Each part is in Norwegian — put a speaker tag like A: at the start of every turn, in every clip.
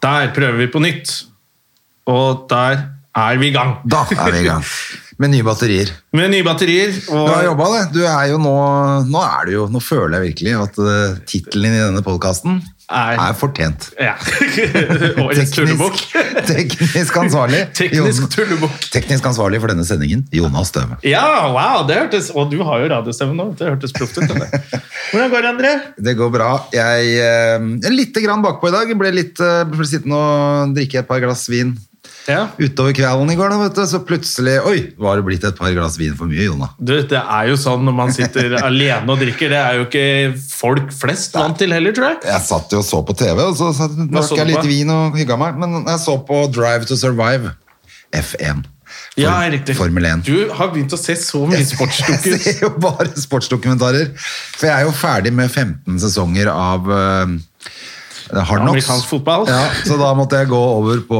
A: Der prøver vi på nytt. Og der er vi i gang.
B: Da er vi i gang med nye batterier.
A: Med nye batterier.
B: Du
A: Og
B: har jobba, det. Du er jo nå, nå, er du jo, nå føler jeg virkelig at eh, tittelen din i denne podkasten
A: Er-
B: er fortjent.
A: ja. Årets tullebukk.
B: teknisk ansvarlig.
A: Teknisk
B: Jon-
A: tullebukk.
B: Teknisk ansvarlig for denne sendingen, Jonas Støme.
A: Ja, wow! det hørtes, Og du har jo radiostemme nå. Det hørtes proft ut. det. Hvordan går det, André?
B: Det går bra. Jeg eh, er litt grann bakpå i dag. Jeg Ble, litt, eh, ble sittende og drikke et par glass vin
A: Ja.
B: utover kvelden i går. Da, vet du. Så plutselig Oi, var det blitt et par glass vin for mye, Jona?
A: Du, det er jo sånn når man sitter alene og drikker. Det er jo ikke folk flest vant til heller, tror jeg.
B: Jeg satt jo og så på TV, og så satt,
A: så
B: drakk
A: du
B: jeg litt
A: på?
B: vin og hygga meg. Men jeg så på Drive to Survive, F1. For-
A: Ja, riktig.
B: Formel 1.
A: Du har begynt å se så mye sportsdukker.
B: Jeg ser jo bare sportsdokumentarer. For jeg er jo ferdig med 15 sesonger av eh, Hard Knocks.
A: Amerikansk fotball.
B: Ja, så da måtte, jeg gå over på,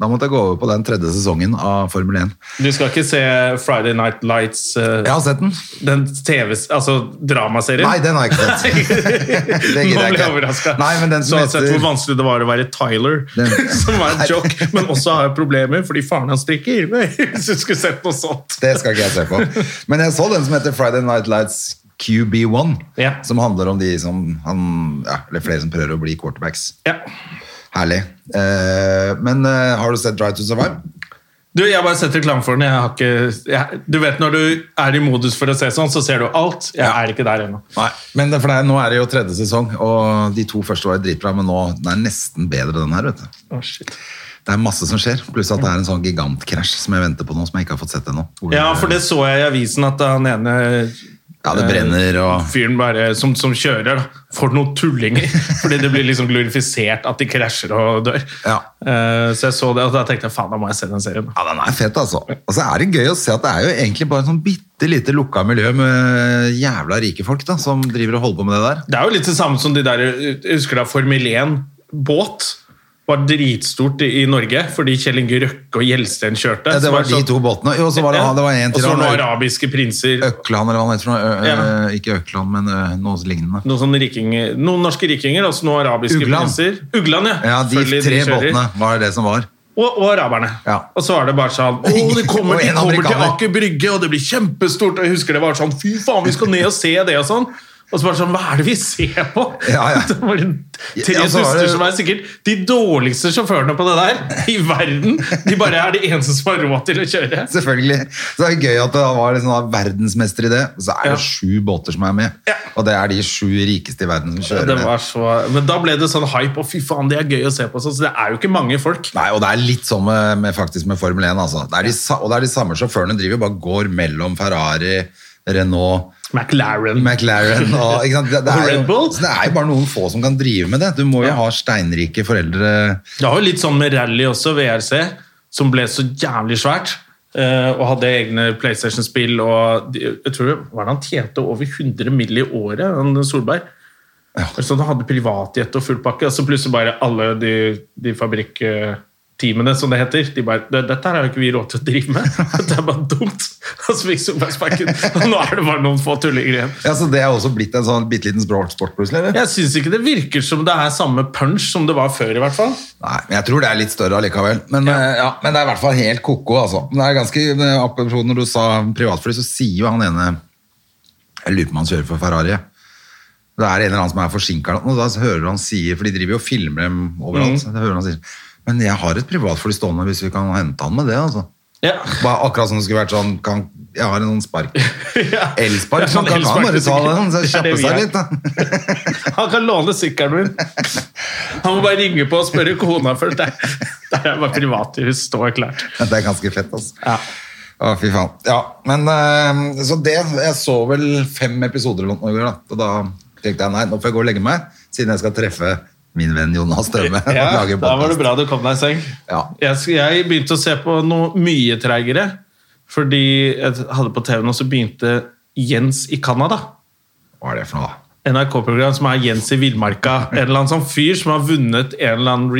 B: da måtte jeg gå over på den tredje sesongen av Formel 1.
A: Du skal ikke se Friday Night Lights, eh,
B: Jeg har sett den.
A: den TV, altså dramaserien?
B: Nei, den har jeg ikke sett. det gidder
A: Nå ble
B: jeg
A: jeg
B: ikke.
A: overraska.
B: Nei, men den
A: Så
B: som
A: har jeg sett
B: heter-
A: hvor vanskelig det var å være Tyler,
B: Den-
A: som var en joke, men også har problemer fordi faren hans drikker. Hvis du skulle sett noe sånt.
B: Det skal ikke jeg se på. Men jeg så den som heter Friday Night Lights QB1,
A: Ja.
B: som handler om de som han, ja, eller flere som prøver å bli quarterbacks.
A: Ja.
B: Herlig. Eh, men eh, har du sett Drive to Survive?
A: Du, jeg bare setter reklame for den. Jeg har ikke, jeg, du vet når du er i modus for å se sånn, så ser du alt. Jeg
B: Ja.
A: er ikke der ennå.
B: Nei. Men det, for det er, nå er det jo tredje sesong, og de to første var dritbra, men nå den er nesten bedre den her, vet du.
A: Å, shit.
B: Det er masse som skjer, pluss at det er en sånn gigantkrasj som jeg venter på nå, som jeg ikke har fått sett ennå. Hvor-
A: Ja, for det så jeg i avisen at han ene
B: Ja, det brenner og...
A: fyren bare, som, som kjører, da, får noen tullinger. Fordi det blir liksom glorifisert at de krasjer og dør.
B: Ja.
A: Eh, så jeg så det, og da tenkte jeg faen, da må jeg se den serien.
B: Ja, den er fett, altså. Og så er det gøy å se at det er jo egentlig bare en sånn bitte lite lukka miljø med jævla rike folk da, som driver og holder på med det der.
A: Det er jo litt det samme som de der jeg Husker du da Formel 1-båt? Var dritstort i i Norge fordi Kjell Inge Røkke og Gjelsten kjørte.
B: Ja,
A: Så
B: det var
A: sånn-
B: de to båtene. Jo, så var det,
A: Ja.
B: han- det var en
A: Og
B: til
A: så var
B: han,
A: det arabiske prinser.
B: Økland eller hva han heter. for noe. Ø- ø- Ikke Økland, men ø, noe lignende.
A: Noen, sånne rikinger, noen norske rikinger, altså noen arabiske
B: Ugland.
A: prinser. Ugland, ja.
B: Ja, de
A: Selvfølgelig,
B: tre
A: kjører.
B: båtene var det som var.
A: Og, og araberne.
B: Ja.
A: Og så var det bare sånn Å, de kommer,
B: Og
A: de
B: en
A: kommer til
B: amerikaner.
A: Aker Brygge, og det blir kjempestort. Og jeg husker det var sånn Fy faen, vi skal ned og se det, og sånn. Og så bare sånn, Hva er det vi ser på?!
B: Ja, ja.
A: Det var en- tre
B: Ja, så var
A: duster
B: det-
A: som er sikkert de dårligste sjåførene på det der i verden. De bare er de eneste som har råd til å kjøre.
B: Selvfølgelig. Så det er gøy at det var liksom da verdensmester i det. Og så er det
A: Ja.
B: sju båter som er med.
A: Ja.
B: Og det er de sju rikeste i verden som kjører
A: Det
B: det.
A: var så, men da ble det sånn hype, og fy faen, det er gøy å se på. sånn, Så det er jo ikke mange folk.
B: Nei, og det er litt sånn med, med, faktisk med Formel 1, altså. Det er de, sa- og det er de samme sjåførene driver bare går mellom Ferrari, Renault,
A: McLaren.
B: McLaren og, ikke sant? Det, det,
A: Og
B: er jo,
A: Red Bull.
B: så det er jo bare noen få som kan drive med det. Du må jo
A: Ja.
B: ha steinrike foreldre.
A: Det var jo litt sånn med rally også, VRC, som ble så jævlig svært. eh, og hadde egne PlayStation-spill. og de, jeg tror det var det Han tjente over 100 mill. i året, han Solberg. Så han hadde privatjet og full pakke, og så plutselig bare alle de, de fabrikkteamene, som det heter, de bare "Det- 'Dette her har jo ikke vi råd til å drive med. Dette er bare dumt.' Og så fikk Solberg sparken. Og nå er det bare noen få tullinger igjen.
B: Ja, så det er også blitt en sånn bitte liten sport sport plutselig, eller?
A: Jeg syns ikke det virker som det er samme punch som det var før, i hvert fall.
B: Nei, men jeg tror det er litt større allikevel. Men,
A: Ja.
B: eh, ja, men det er i hvert fall helt koko, altså. Men Det er ganske, eh, apropos når du sa privatfly, så sier jo han ene, jeg lurer på om han kjører for Ferrari, det er en eller annen som er forsinket, og da hører du han sier, for de driver jo og filmer dem overalt,
A: Mhm.
B: så hører du han sier, men jeg har et privatfly stående hvis vi kan hente han med det, altså.
A: Ja.
B: Bare akkurat som det skulle vært sånn, kan, jeg har en sånn spark.
A: Ja.
B: Elspark,
A: Ja, sånn
B: man kan
A: elspark,
B: bare ta den, så
A: det er det
B: kjappe
A: vi
B: seg
A: er.
B: litt da.
A: Han kan låne sykkelen min. Han må bare ringe på og spørre kona først. Der, der er bare privathus, står klart.
B: Det er ganske fett, altså.
A: Ja.
B: Å, fy faen. Ja, men eh, så det Jeg så vel fem episoder eller noe i går, da. Og da tenkte jeg nei, nå får jeg gå og legge meg, siden jeg skal treffe min venn Jonas Stømme.
A: Ja,
B: lager
A: da var det
B: podcast.
A: bra du kom deg i seng.
B: Ja.
A: Jeg, sk- jeg begynte å se på noe mye treigere, fordi jeg hadde på TV nå, så begynte Jens i Canada.
B: Hva er det for noe, da?
A: NRK-program som er Jens i villmarka. En eller annen sånn fyr som har vunnet en eller annen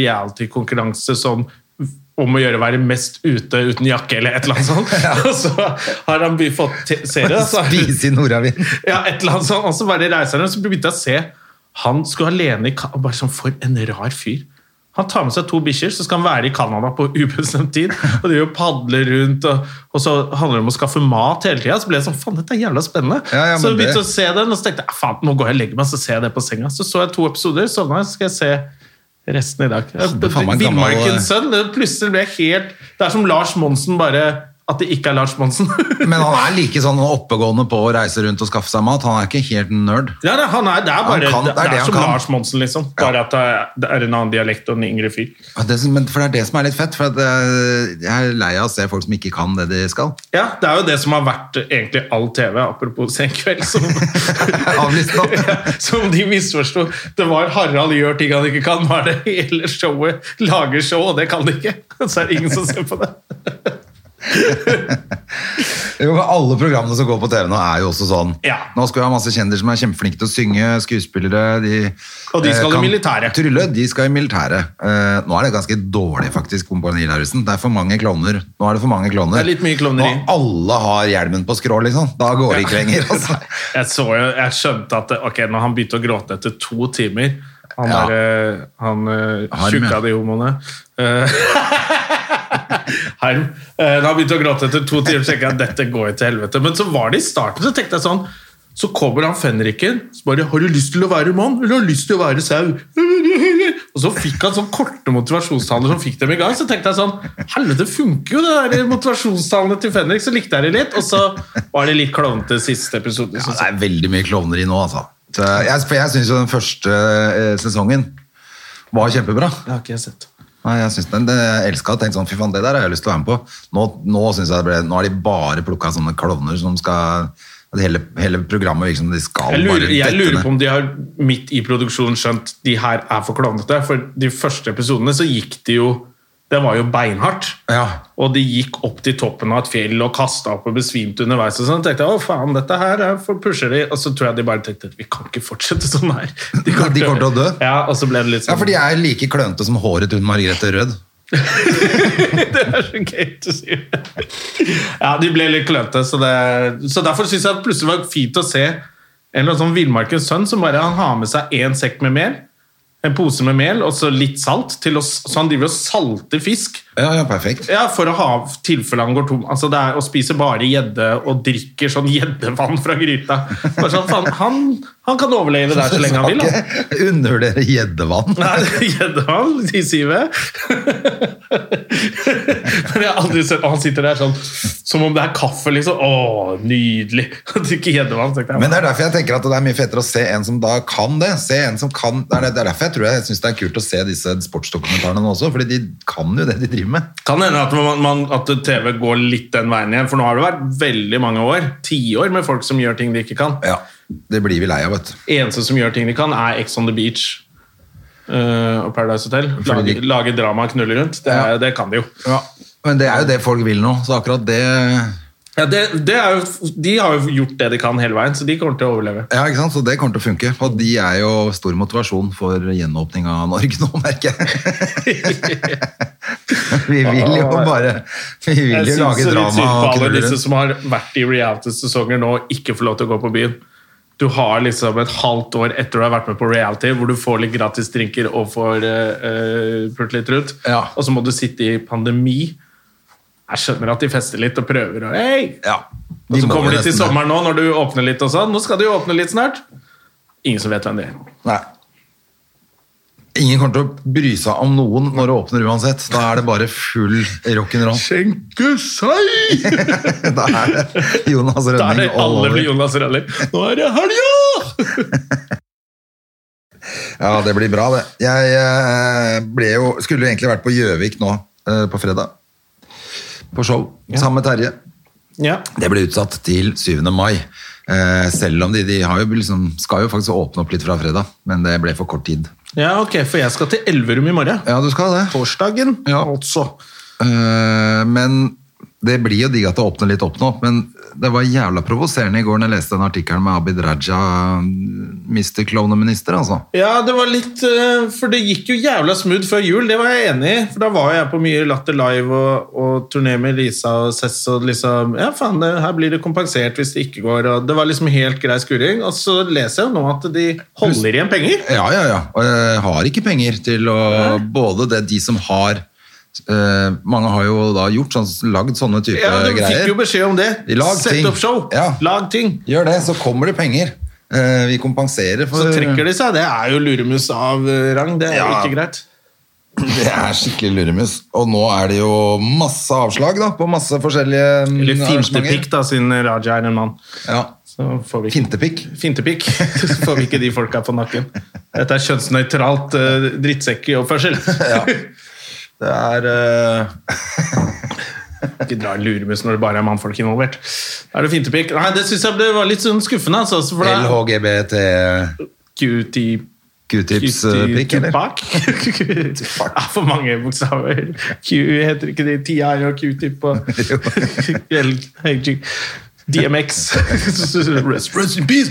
A: reality-konkurranse som om å gjøre å være mest ute uten jakke eller et eller annet sånt. Og så har han by- fått te- serie. da, så-
B: Spise i nordavind.
A: ja, et eller annet sånt. Og så bare reiser han, og så begynte jeg å se han skulle alene i Ka- og Bare sånn, for en rar fyr. Han tar med seg to bikkjer, så skal han være i Canada på ubestemt tid. Og de padler rundt, og, og så handler det om å skaffe mat hele tida. Så ble jeg sånn, faen, dette er jævla spennende.
B: Ja, ja,
A: så
B: men
A: jeg
B: det-
A: begynte å se den, og så tenkte jeg, «Ah, faen, nå går jeg og legger meg, så ser jeg det på senga. Så så jeg to episoder, sovna, så skal jeg se resten i dag.
B: det er faen meg gammel- eh.
A: Villmarkens sønn, det plutselig ble jeg helt Det er som Lars Monsen, bare at det ikke er Lars Monsen.
B: Men han er like sånn oppegående på å reise rundt og skaffe seg mat. Han er ikke helt nerd.
A: Ja, det, han er, det er bare
B: Han kan-
A: det, det er,
B: det han
A: som
B: kan.
A: Lars Monsen, liksom. Bare at det er, det er en annen dialekt og en yngre fyr.
B: Og Det, som- men for det er det som er litt fett, for at eh, jeg er lei av å se folk som ikke kan det de skal.
A: Ja, Det er jo det som har vært egentlig all TV, apropos Senkveld, som,
B: Avlyst nå.
A: ja, som de misforsto. Det var Harald gjør ting han ikke kan, nå er det hele showet lager show, og det kan de ikke. Så er det ingen som ser på det.
B: Jo, men Alle programmene som går på TV nå er jo også sånn.
A: Ja.
B: Nå skal vi ha masse kjendiser som er kjempeflinke til å synge, skuespillere de,
A: Og de skal
B: eh,
A: i
B: kan
A: militæret.
B: Trylle, de skal i militæret. Eh, nå er det ganske dårlig faktisk, Kompani Lauritzen. Det er for mange klovner. Nå er det for mange klovner.
A: Det er litt mye klovneri.
B: Når alle har hjelmen på skrå, liksom. Da går det ikke lenger. Altså.
A: Jeg, så jo, jeg skjønte at det- ok, når han begynte å gråte etter to timer Han
B: Ja.
A: der, eh, han eh,
B: Harm,
A: tjukka
B: ja.
A: de homoene eh, Harm. Eh, Da han begynte å gråte etter to timer, så tenkte jeg at dette går jo til helvete. Men så var det i starten, så tenkte jeg sånn så kommer han fenriken så bare 'Har du lyst til å være mann, eller har du lyst til å være sau?' Og så fikk han sånn korte motivasjonstaler som fikk dem i gang. Så tenkte jeg sånn Helvete, funker jo det der motivasjonstalene til Fenrik? Så likte jeg det litt. Og så var det litt klovnete siste episode.
B: Ja,
A: synes
B: det
A: jeg.
B: er veldig mye klovneri nå, altså. Så jeg for jeg syns jo den første eh, sesongen var kjempebra.
A: Det har ikke jeg sett.
B: Nei, jeg synes den, det jeg elsket, tenkte sånn, fy faen, det der har jeg lyst til å være med på. Nå, nå synes jeg det ble, nå har de bare plukket sånne klovner som skal, at hele, hele programmet virker som de skal
A: Jeg lurer,
B: bare
A: jeg
B: dette
A: lurer
B: ned.
A: på om de har midt i produksjonen skjønt de her er for klovnete. For de første episodene så gikk de jo Det var jo beinhardt.
B: Ja.
A: Og de gikk opp til toppen av et fjell og kasta opp og besvimte underveis. og sånn, tenkte jeg, å faen, dette her er for pusher de. Og så tror jeg de bare tenkte at vi kan ikke fortsette sånn her.
B: De kommer til å dø.
A: Ja, og så ble det litt sånn.
B: Ja, for de er like klønete som håret til Margrethe Rød.
A: sånn, Det er så gøy å si. Ja, de ble litt klønete, så, det, så derfor syns jeg at plutselig var det fint å se en eller annen sånn villmarkens sønn som bare han har med seg én sekk med mel, en pose med mel og så litt salt, til å, så han driver og salter fisk.
B: Ja, ja, perfekt.
A: Ja, for å ha tilfelle han går tom. Altså, det er å spise bare gjedde og drikker sånn gjeddevann fra gryta. Bare sånn, faen, han, han kan overleve der så lenge han vil. Han.
B: Undervurdere gjeddevann.
A: Nei, gjeddevann i sivet. Men jeg har aldri sett Han sitter der sånn som om det er kaffe, liksom. Å, nydelig! Han drikker gjeddevann. tenkte jeg.
B: Men det er derfor jeg tenker at det er mye fettere å se en som da kan det. Se en som kan, det er det- det er derfor jeg tror jeg synes det er kult å se disse sportsdokumentarene nå også, fordi de kan jo det de driver med.
A: Kan hende at, man, man, at TV går litt den veien igjen, for nå har det vært veldig mange år, tiår, med folk som gjør ting de ikke kan.
B: Ja, det blir vi lei av, vet du.
A: eneste som gjør ting de kan, er Ex on the Beach eh, og Paradise Hotel.
B: Fordi
A: Lage,
B: de-
A: lage drama og knulle rundt. Det, er- det kan de jo.
B: Men det er jo det folk vil nå, så akkurat det
A: Ja, det, det er jo. De har jo gjort det de kan hele veien, så de kommer til å overleve.
B: Ja, ikke sant? Så det kommer til å funke. Og de er jo stor motivasjon for gjenåpning av Norge nå, merker jeg. vi vil jo bare Vi vil jo lage
A: det er litt
B: drama
A: synd på
B: og
A: alle
B: knulle
A: disse
B: rundt.
A: som har vært i reality-sesonger nå og ikke får lov til å gå på byen. Du har liksom et halvt år etter du har vært med på reality, hvor du får litt gratis drinker og får eh, eh, pult litt rundt,
B: Ja.
A: og så må du sitte i pandemi. Jeg skjønner at de fester litt og prøver og Hei,
B: Ja,
A: Og så
B: må
A: kommer
B: jo
A: de til
B: nesten det.
A: sommeren nå, når du åpner litt og sånn. Nå skal du jo åpne litt snart. Ingen som vet hvem det er.
B: Nei. Ingen kommer til å bry seg om noen når det åpner uansett. Da er det bare full rock'n'roll.
A: Skjenke seg!
B: Da er det Jonas
A: Da er det
B: Rønning all
A: alle
B: over.
A: blir Jonas Rønning. Nå er det helga!
B: Ja, det blir bra, det. Jeg eh, ble jo, skulle jo egentlig vært på Gjøvik nå eh, på fredag. På show, sammen med Terje.
A: Ja.
B: Det ble utsatt til 7. mai. Eh, selv om de, de har jo liksom, skal jo faktisk åpne opp litt fra fredag, men det ble for kort tid.
A: Ja, ok, for jeg skal til Elverum i morgen.
B: Ja, du skal det.
A: Torsdagen,
B: Ja.
A: altså.
B: Eh, men det blir jo digg at det åpner litt opp nå, men det var jævla provoserende i går når jeg leste den artikkelen med Abid Raja, Mr. Kloneminister, altså.
A: Ja, det var litt eh, For det gikk jo jævla smooth før jul, det var jeg enig i. For da var jeg på mye Latter Live og, og turné med Lisa og Sess og liksom Ja, faen, det, her blir det kompensert hvis det ikke går, og det var liksom helt grei skuring. Og så leser jeg nå at de holder igjen penger.
B: Ja, ja, ja. Og jeg har ikke penger til å Både det de som har eh, Mange har jo da gjort sånn, lagd sånne type
A: Ja, du
B: greier.
A: fikk jo beskjed om det.
B: De lag
A: Sett
B: ting.
A: opp show.
B: Ja.
A: Lag ting.
B: Gjør det, så kommer det penger. Eh, vi kompenserer for
A: Så trekker de seg. Det er jo luremus av eh, rang. Det er jo
B: Ja.
A: ikke greit.
B: Det er skikkelig luremus. Og nå er det jo masse avslag da, på masse forskjellige mm,
A: Eller fintepikk,
B: arrangementer.
A: da, siden Raja er en mann.
B: Ja.
A: Så får vi ikke
B: Fintepikk.
A: Fintepikk. Så får vi ikke de folka på nakken. Dette er kjønnsnøytralt uh, drittsekkoppførsel.
B: Ja. Det er eh,
A: ikke dra en luremus når det bare er mannfolk involvert. Da er det fintepikk. Nei, det syns jeg ble, var litt sånn skuffende. Altså, for det er
B: LHGBT-q-tips-pikk, eh, eller?
A: Q-tip-pak. eh, Ja, for mange bokstaver. Q heter ikke det. TI og Q-tip og L- G- DMX. Rest, rest in peace!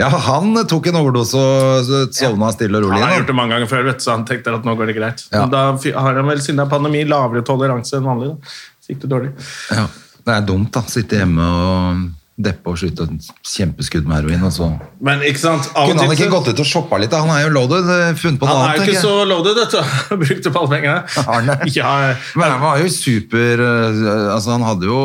B: Ja, han tok en overdose og så sovna stille og rolig.
A: Han har
B: igjen,
A: gjort det mange ganger før, vet, du, så han tenkte at nå går det greit.
B: Ja.
A: Men da fi- har han vel, siden det er pandemi, lavere toleranse enn vanlig. Da. Så gikk det dårlig.
B: Ja, det er dumt da, sitte hjemme og deppe og slutte et kjempeskudd med heroin, og så...
A: Men ikke sant? Av og
B: Kunne han
A: til
B: ikke
A: så-
B: gått ut og shoppa litt da? Han er jo loaded, eh, funnet på noe
A: Han er
B: annet,
A: jo
B: tenker
A: ikke
B: jeg.
A: så loaded, vet du. Han Brukte opp alle pengene.
B: Har han det?
A: Ja,
B: Men han var jo super... eh, Altså, han hadde jo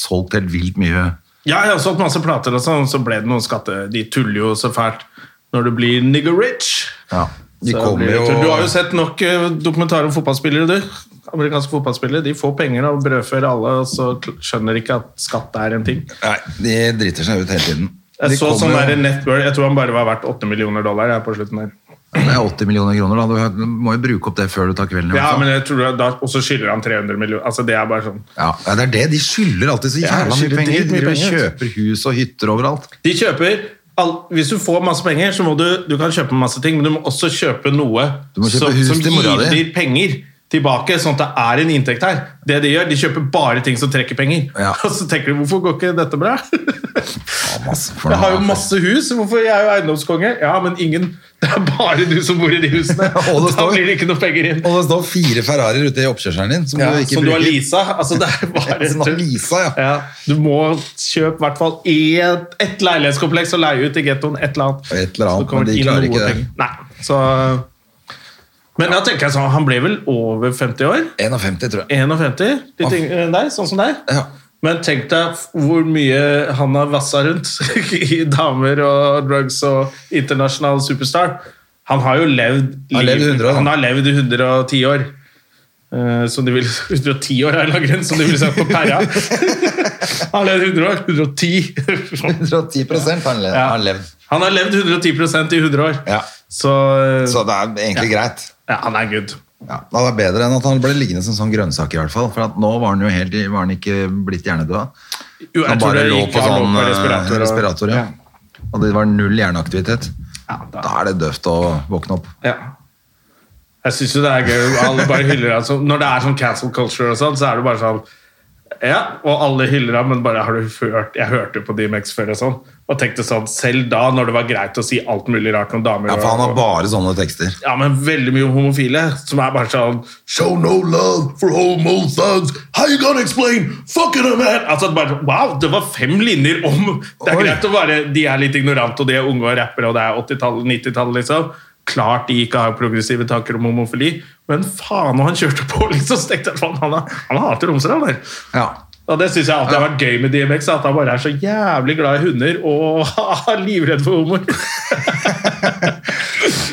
B: solgt helt vilt mye.
A: ja, jeg har solgt masse plater og sånn, så ble det noen skatte... De tuller jo så fælt når du blir nigger rich.
B: Ja, de
A: Så
B: kommer
A: blir det
B: jo...
A: tull. Du har jo sett nok eh, dokumentarer om fotballspillere, du. Amerikanske fotballspillere de får penger og brødfører alle, og så kl- skjønner de ikke at skatt er en ting.
B: Nei, de driter seg ut hele tiden.
A: Jeg
B: De
A: så
B: kommer
A: sånn
B: jo-
A: der net worth, jeg tror han bare var verdt 8 millioner dollar jeg, på slutten der.
B: Det er 80 millioner kroner da, du må jo bruke opp det før du tar kvelden. i
A: Ja,
B: hvert fall.
A: men jeg tror da, Og så skylder han 300 millioner. Altså, det er bare sånn.
B: Ja, ja, det er det. De skylder alltid så
A: Ja,
B: jævla mye
A: skylder
B: penger. De
A: dritmye
B: driver og
A: penger, vet
B: kjøper hus og hytter overalt.
A: De kjøper all, Hvis du får masse penger, så må du Du kan kjøpe masse ting, men du må også kjøpe noe
B: Du må kjøpe
A: som,
B: hus
A: som
B: til mora di.
A: gir penger tilbake, sånn at det er en inntekt her. Det De gjør, de kjøper bare ting som trekker penger.
B: Ja.
A: Og så tenker du hvorfor går ikke dette bra?
B: masse for
A: Jeg har jo
B: noe.
A: masse hus, hvorfor jeg er jo eiendomskonge? Ja, men ingen Det er bare du som bor i de husene.
B: Og det
A: da
B: står-
A: blir det ikke noe penger inn.
B: Og det står fire Ferrarier ute i oppkjørselen din som
A: Ja,
B: du ikke
A: som du har
B: bruker.
A: leasa. Altså, det er bare
B: Som du har
A: tull.
B: leasa, ja.
A: Ja, du må kjøpe i hvert fall ett et leilighetskompleks og leie ut i gettoen. Et eller annet.
B: Et eller annet,
A: Så det kommer
B: men de
A: inn
B: klarer
A: noe
B: ikke det.
A: penger. Nei, så... Men da tenker jeg sånn, han ble vel over 50 år?
B: 51, tror jeg.
A: 51, litt yngre enn deg, sånn som deg.
B: Ja.
A: Men tenk deg f- hvor mye han har vassa rundt i damer og drugs og internasjonal superstar. Han har jo levd
B: Han har levd
A: liv-
B: 100 år, da.
A: Han har levd i 110 år. Eh, som de vil, 110 år er en lang grense, som de ville sagt på pæra. han har levd 100 år. 110
B: 110 har han le-
A: Ja.
B: har levd.
A: Han har levd 110 i 100 år.
B: Ja.
A: Så, eh,
B: Så det er egentlig greit.
A: ja, han er good.
B: Ja. Det er bedre enn at han ble liggende som sånn grønnsak, i hvert fall. For at nå var han jo helt i- Var han ikke blitt hjernedød?
A: Jo, jeg
B: Han
A: tror
B: bare
A: det
B: lå
A: gikk-
B: på
A: han lå
B: sånn
A: på
B: eh,
A: respirator
B: respirator,
A: og-
B: ja. Og det var null hjerneaktivitet.
A: Ja, da-
B: Da er det døvt å våkne opp.
A: Ja. Jeg syns jo det er gøy. Alle bare hyller ham. som- Når det er sånn cancel culture og sånn, så er det bare sånn Ja, og alle hyller ham, men bare har du hørt Jeg hørte jo på DMX før og sånn, og tenkte sånn Selv da, når det var greit å si alt mulig rart om damer
B: Ja, for han har
A: og-
B: bare sånne tekster.
A: ja, men veldig mye homofile som er bare sånn
B: Show no love for homo thugs.
A: How you gonna explain fucking a man? Altså, bare, wow, det var fem linjer om Det er
B: Oi.
A: greit å være De er litt ignorante, og de er unge og rappere, og det er 80-tallet, 90-tallet, liksom. Klart de ikke har progressive tanker om homofili, men faen, når han kjørte på, liksom, så tenkte jeg faen, han har- han hater homser, han der.
B: Ja.
A: Og det syns jeg alltid har vært gøy med DMX, at han bare er så jævlig glad i hunder og livredd for homoer.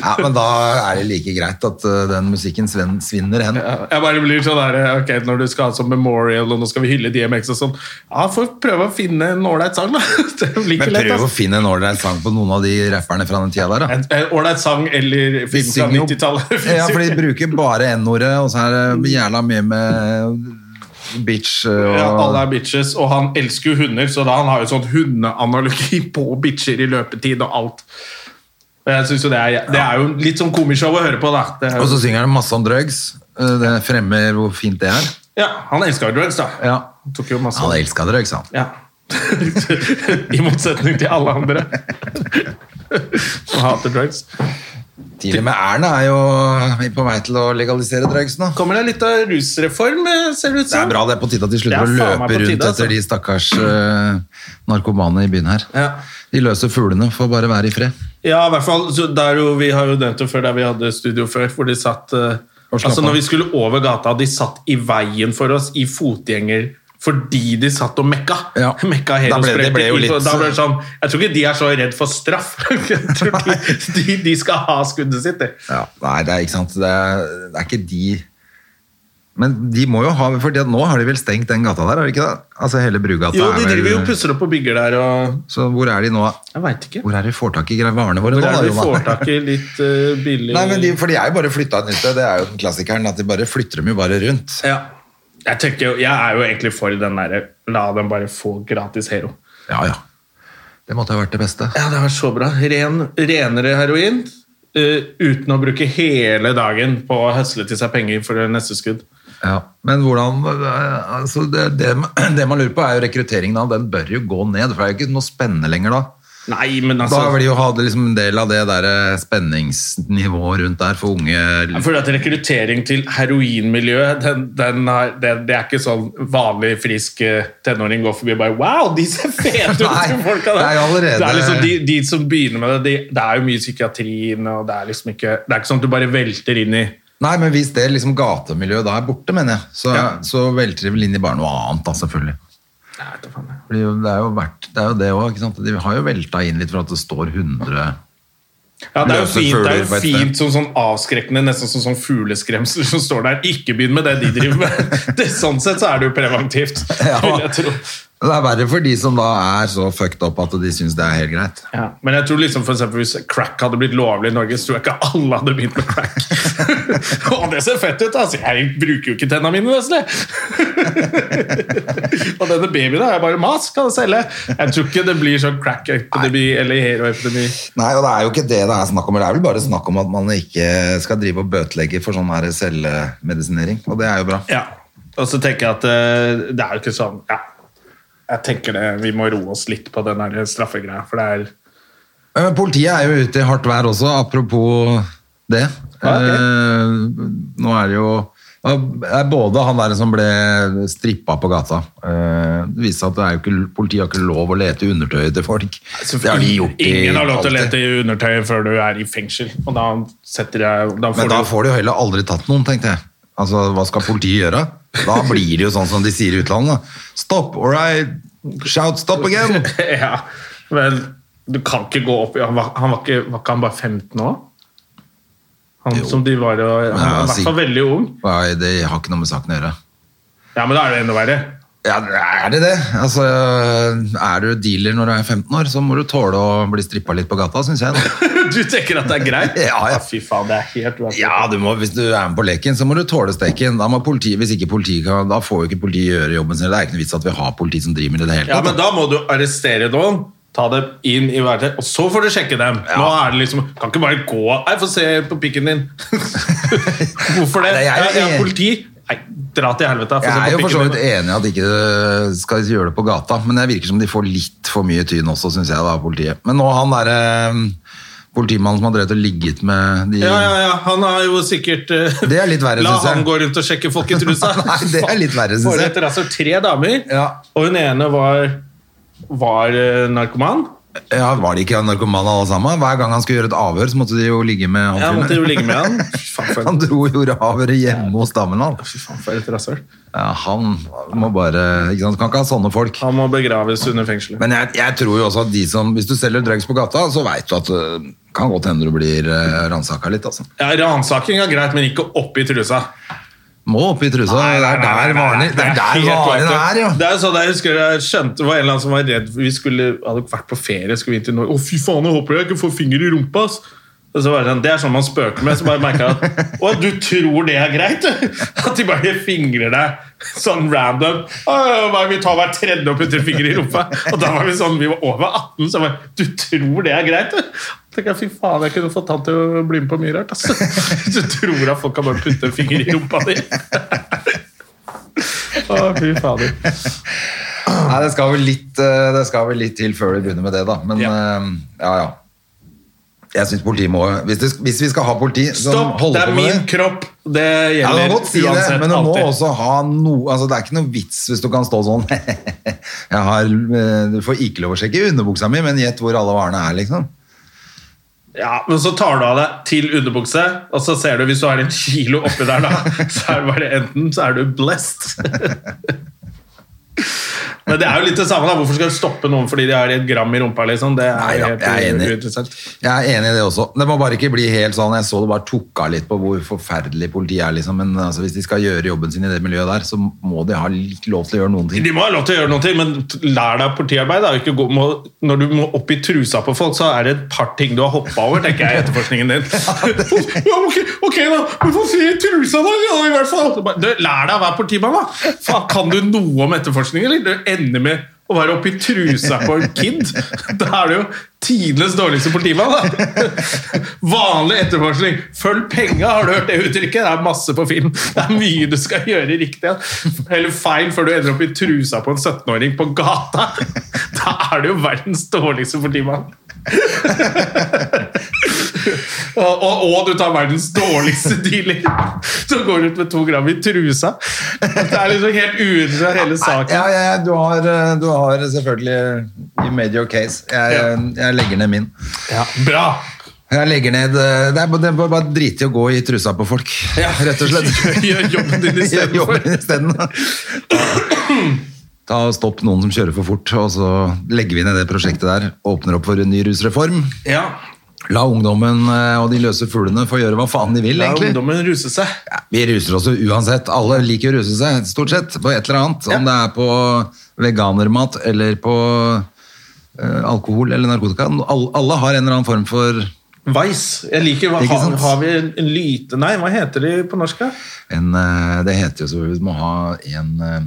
B: Ja, men da er det like greit at eh, den musikken sven- svinner hen.
A: Jeg bare blir sånn der, ok, Når du skal ha sånn memorial, og nå skal vi hylle DMX og sånn Ja, får prøve å finne en ålreit sang, da. Det blir ikke
B: Men
A: lett,
B: prøv å
A: ass.
B: finne en ålreit sang på noen av de rapperne fra den tida der, da.
A: En en ålreit sang eller
B: De
A: film fra
B: synger jo-
A: 90-tallet.
B: Ja, for de
A: Finnes jo ikke.
B: bruker bare N-ordet, og så er det jævla mye med bitch og
A: ja, alle er bitches, og han elsker jo hunder, så da han har jo sånn hundeanalogi på bitcher i løpetid og alt. Og jeg synes jo det, er, det er jo litt sånn komishow å høre på, da. Det er,
B: Og så
A: jo-
B: synger han masse om drugs. Eh, Det fremmer hvor fint det er.
A: ja, han elska jo drugs, da.
B: Ja.
A: Han tok jo masse
B: Han elska drugs, han.
A: Ja. I motsetning til alle andre som hater drugs.
B: Til og med Erna er jo på vei til å legalisere drugs nå.
A: Kommer det litt av rusreform, eh, ser det ut
B: Det er
A: som?
B: bra det er på tide at de
A: Det er
B: slutter å
A: faen meg
B: løpe
A: på
B: rundt
A: tide, altså.
B: etter de stakkars eh, narkomane i byen her.
A: Ja.
B: De løse fuglene får bare være i fred.
A: Ja, i hvert fall. Så der jo, vi har jo nevnt det før, der vi hadde studio før, hvor de satt eh,
B: Og slapp
A: Altså,
B: av.
A: når vi skulle over gata, de satt i veien for oss i fotgjenger. Fordi de satt og mekka.
B: Ja.
A: mekka
B: Da ble- det
A: helosprøyter.
B: ble jo litt-
A: Da ble det sånn, jeg tror ikke de er så redd for straff. Jeg tror de, de, de skal ha skuddet sitt, de.
B: Ja, nei, det er ikke sant. Det er, det er ikke de Men de må jo ha Fordi at nå har de vel stengt den gata der, har de ikke det? Altså hele Brugata.
A: Jo,
B: er
A: de
B: vel-
A: driver jo og pusser opp og bygger der og
B: Så hvor er de nå?
A: Jeg veit ikke.
B: Hvor er de får tak i varene våre
A: Hvor
B: nå?
A: er
B: da,
A: det vi
B: Johan?
A: får tak i litt eh, billig
B: Nei, men de, for de er jo bare flytta et nytt sted. Det er jo den klassikeren at de bare flytter dem jo bare rundt.
A: ja. jeg, tenker, jo- jeg er jo egentlig for den derre la dem bare få gratis hero.
B: Ja, ja. Det måtte ha vært det beste.
A: Ja, det var så bra. Ren, renere heroin eh, uten å bruke hele dagen på å høsle til seg penger for neste skudd.
B: Ja. Men hvordan eh, altså det, det, det man lurer på, er jo rekrutteringen av den bør jo gå ned. For det er jo ikke noe spennende lenger da.
A: Nei, men altså
B: Da vil de jo ha det liksom en del av det der eh, spenningsnivået rundt der for unge
A: fordi at Rekruttering til heroinmiljøet den, den har, det, det er ikke sånn vanlig frisk eh, tenåring går forbi og bare Wow, de ser fete ut!
B: Nei,
A: de folka der.
B: det er jo allerede-
A: Det er liksom de, de som begynner med det, de, det er jo mye psykiatri inne, og det er liksom ikke Det er ikke sånn at du bare velter inn i
B: Nei, men hvis det liksom gatemiljøet da er borte, mener jeg, så,
A: Ja.
B: så velter de vel inn i bare noe annet, da, selvfølgelig.
A: Nei, vet du faen, jeg.
B: Fordi det er jo verdt, det er jo det også, ikke sant? De har jo velta inn litt for at det står 100
A: Ja, det er jo
B: Løse
A: fint, det er
B: fugler på
A: jo
B: et
A: fint som sånn avskrekkende, nesten som sånn fugleskremsel som står der. Ikke begynn med det de driver med! Det, sånn sett så er det jo preventivt,
B: Ja.
A: vil jeg tro.
B: Det er verre for de som da er så fucked up at de syns det er helt greit.
A: Ja. Men jeg tror liksom for eksempel hvis crack hadde blitt lovlig i Norge, så tror jeg ikke alle hadde begynt med crack. Å, det ser fett ut! Altså. Jeg bruker jo ikke tennene mine, Wesley! Og denne babyen her er bare mas, kan jeg selge! Jeg tror ikke det blir sånn crack-epidemi eller hero-epidemi.
B: Nei, og det er jo ikke det det er snakk om. Det er vel bare snakk om at man ikke skal drive og bøtelegge for sånn her selvmedisinering, og det er jo bra.
A: Ja, og så tenker jeg at eh, det er jo ikke sånn ja. Jeg tenker det, Vi må roe oss litt på den der straffegreia, for det er
B: Men Eh, Politiet er jo ute i hardt vær også, apropos det.
A: Ja, ok.
B: Eh, nå er det jo det er både han der som ble strippa på gata eh, Det viste seg at det er jo ikke, politiet har ikke lov å lete i undertøyet til folk. Det har de gjort i
A: Altså, Ingen har lov til å
B: alltid.
A: lete i undertøyet før du er i fengsel, og da setter jeg da får
B: Men da
A: du-
B: får de jo heller aldri tatt noen, tenkte jeg. Altså, hva skal politiet gjøre? Da blir det jo sånn som de sier i utlandet. da. Stopp, all right, shout stop again!
A: Ja, men du kan ikke gå opp i Han var, han var, ikke, var ikke han bare 15 år? Han
B: Jo.
A: som de var og Han var i
B: altså,
A: hvert fall veldig ung.
B: Nei, det har ikke noe med saken å gjøre.
A: Ja, men da er det enda verre.
B: Ja, er det det? Altså, er du dealer når du er 15 år, så må du tåle å bli strippa litt på gata, syns jeg. Da.
A: Du tenker at det er greit?
B: Ja, ja.
A: Fy faen, det er helt uaktuelt.
B: Ja, du må, hvis du er med på leken, så må du tåle steken. Da, må politiet, hvis ikke politiet kan, da får jo ikke politiet gjøre jobben sin. Det er ikke noe vits at vi har politi som driver med det i det hele
A: Ja,
B: tatt.
A: men da må du arrestere noen, ta dem inn i verktøy, og så får du sjekke dem. Nå er det liksom, Kan ikke bare gå Nei, få se på pikken din. Hvorfor det?
B: Nei, jeg er
A: jeg, jeg
B: enig.
A: er politi. Nei, dra til helvete. Få
B: Jeg
A: se
B: er jo
A: på
B: for så
A: pikken
B: vidt
A: din.
B: enig i at de ikke skal gjøre det på gata, men det virker som de får litt for mye tyn også, syns jeg, da, politiet. Men nå han derre politimannen som har drevet og ligget med de
A: Ja, ja, ja. Han har jo sikkert eh,
B: Det er litt verre,
A: La
B: synes jeg.
A: han gå rundt og sjekke folk i trusa.
B: Nei, det er litt verre, synes
A: Bare
B: jeg.
A: etter altså tre damer,
B: Ja.
A: og hun ene var, var eh, narkoman.
B: Ja, Var de ikke narkomane alle sammen? Hver gang han skulle gjøre et avhør, så måtte de jo ligge med han
A: Jeg
B: fyren
A: måtte
B: der.
A: jo ligge med han. Fy faen, for,
B: Han dro og gjorde avhøret hjemme hos damen hans.
A: fy faen, for et rasshøl.
B: Ja, han må bare ikke sant? Kan ikke ha sånne folk.
A: Han må begraves under fengselet.
B: Men jeg, jeg tror jo også at de som Hvis du selger drugs på gata, så veit du at øh, kan godt hende du blir øh, ransaka litt, altså.
A: Ja, Ransaking er greit, men ikke opp i trusa.
B: Må opp i trusa. det er der varene det er der
A: helt
B: varene
A: klart.
B: er, jo.
A: Det er jo sånn, jeg husker jeg skjønte, det var en eller annen som var redd Vi skulle, hadde vært på ferie, skulle vi inn til Norge Å fy faen, jeg håper jeg ikke får finger i rumpa ass. Og så var det sånn, det er sånn man spøker med Så bare merker jeg at, å du tror det er greit At de bare fingrer deg Sånn random Å, bare vi tar hver tredje og putter finger i rumpa Og da var vi sånn, vi var over 18 Så bare, du tror det er greit tenker jeg, Fy faen, jeg kunne fått han til å bli med på mye rart. Altså. Du tror at folk kan bare putte en finger i rumpa di? Å, fy fader.
B: Nei, det skal vel litt, eh, det skal vel litt til før du begynner med det, da. Men
A: Ja.
B: eh, ja, ja. Jeg syns politiet må hvis, det, hvis vi skal ha politi som
A: Stopp!
B: Sånn holder
A: Det er
B: på med
A: min kropp! Det
B: Ja, du
A: gjelder
B: kan godt si det, men du må også ha noe altså, Det er ikke noe vits hvis du kan stå sånn jeg har, eh, Du får ikke lov å sjekke underbuksa mi, men gjett hvor alle varene er, liksom.
A: Ja, men så tar du av deg til underbukse, og så ser du hvis du har en kilo oppi der, da, så er det bare enten så er du blessed. Men det er jo litt det samme, da. Hvorfor skal du stoppe noen fordi de har et gram i rumpa? liksom? Det er
B: Nei, ja,
A: helt
B: jeg er enig.
A: uinteressant.
B: Jeg er enig i det også. Det må bare ikke bli helt sånn Jeg så det bare tok av litt på hvor forferdelig politiet er, liksom. Men altså, hvis de skal gjøre jobben sin i det miljøet der, så må de ha litt lov til å gjøre noen ting.
A: De må ha lov til å gjøre noe, men lær deg politiarbeid. Da. Ikke gå, må, når du må opp i trusa på folk, så er det et par ting du har hoppa over, tenker jeg i etterforskningen din. ja, ok, ok, da, men få se i trusa, da! Ja, i hvert fall. Bare, Du, lær deg å være politimann, da! Faen, kan du noe om etterforskning, eller? Du ender med å være oppi trusa på en kid. Da er du jo tidenes dårligste politimann, da! Vanlig etterforskning. Følg penga, har du hørt det uttrykket? Det er masse på film. Det er mye du skal gjøre riktig, eller feil, før du ender opp i trusa på en 17-åring på gata. Da er du jo verdens dårligste politimann. og, og, og du tar verdens dårligste dealer, som går ut med to gram i trusa. Det er liksom helt uinteressant, hele saken.
B: Ja, ja, ja du, har, eh, du har selvfølgelig You made your case. Jeg, eh,
A: Ja.
B: jeg legger ned min.
A: Bra!
B: Jeg legger ned eh, Det er bare, det er bare- bare drit i å gå i trusa på folk, rett og slett.
A: Gjør jobben din
B: Gjør
A: istedenfor.
B: jobben din isteden. Ta og Stopp noen som kjører for fort, og så legger vi ned det prosjektet der. Åpner opp for en ny rusreform.
A: Ja,
B: La ungdommen eh, og de løse fuglene få gjøre hva faen de vil,
A: la
B: egentlig.
A: ungdommen ruse seg.
B: Ja, Vi ruser oss jo uansett. Alle liker å ruse seg, stort sett, på et eller annet. Om
A: Ja.
B: det er på veganermat eller på eh, alkohol eller narkotika. Alle, alle har en eller annen form for
A: Vice. Jeg liker hva,
B: Ikke
A: har,
B: sant?
A: har vi en en lyte... Nei, hva heter de på norsk? da?
B: en eh, Det heter jo så Vi må ha en eh,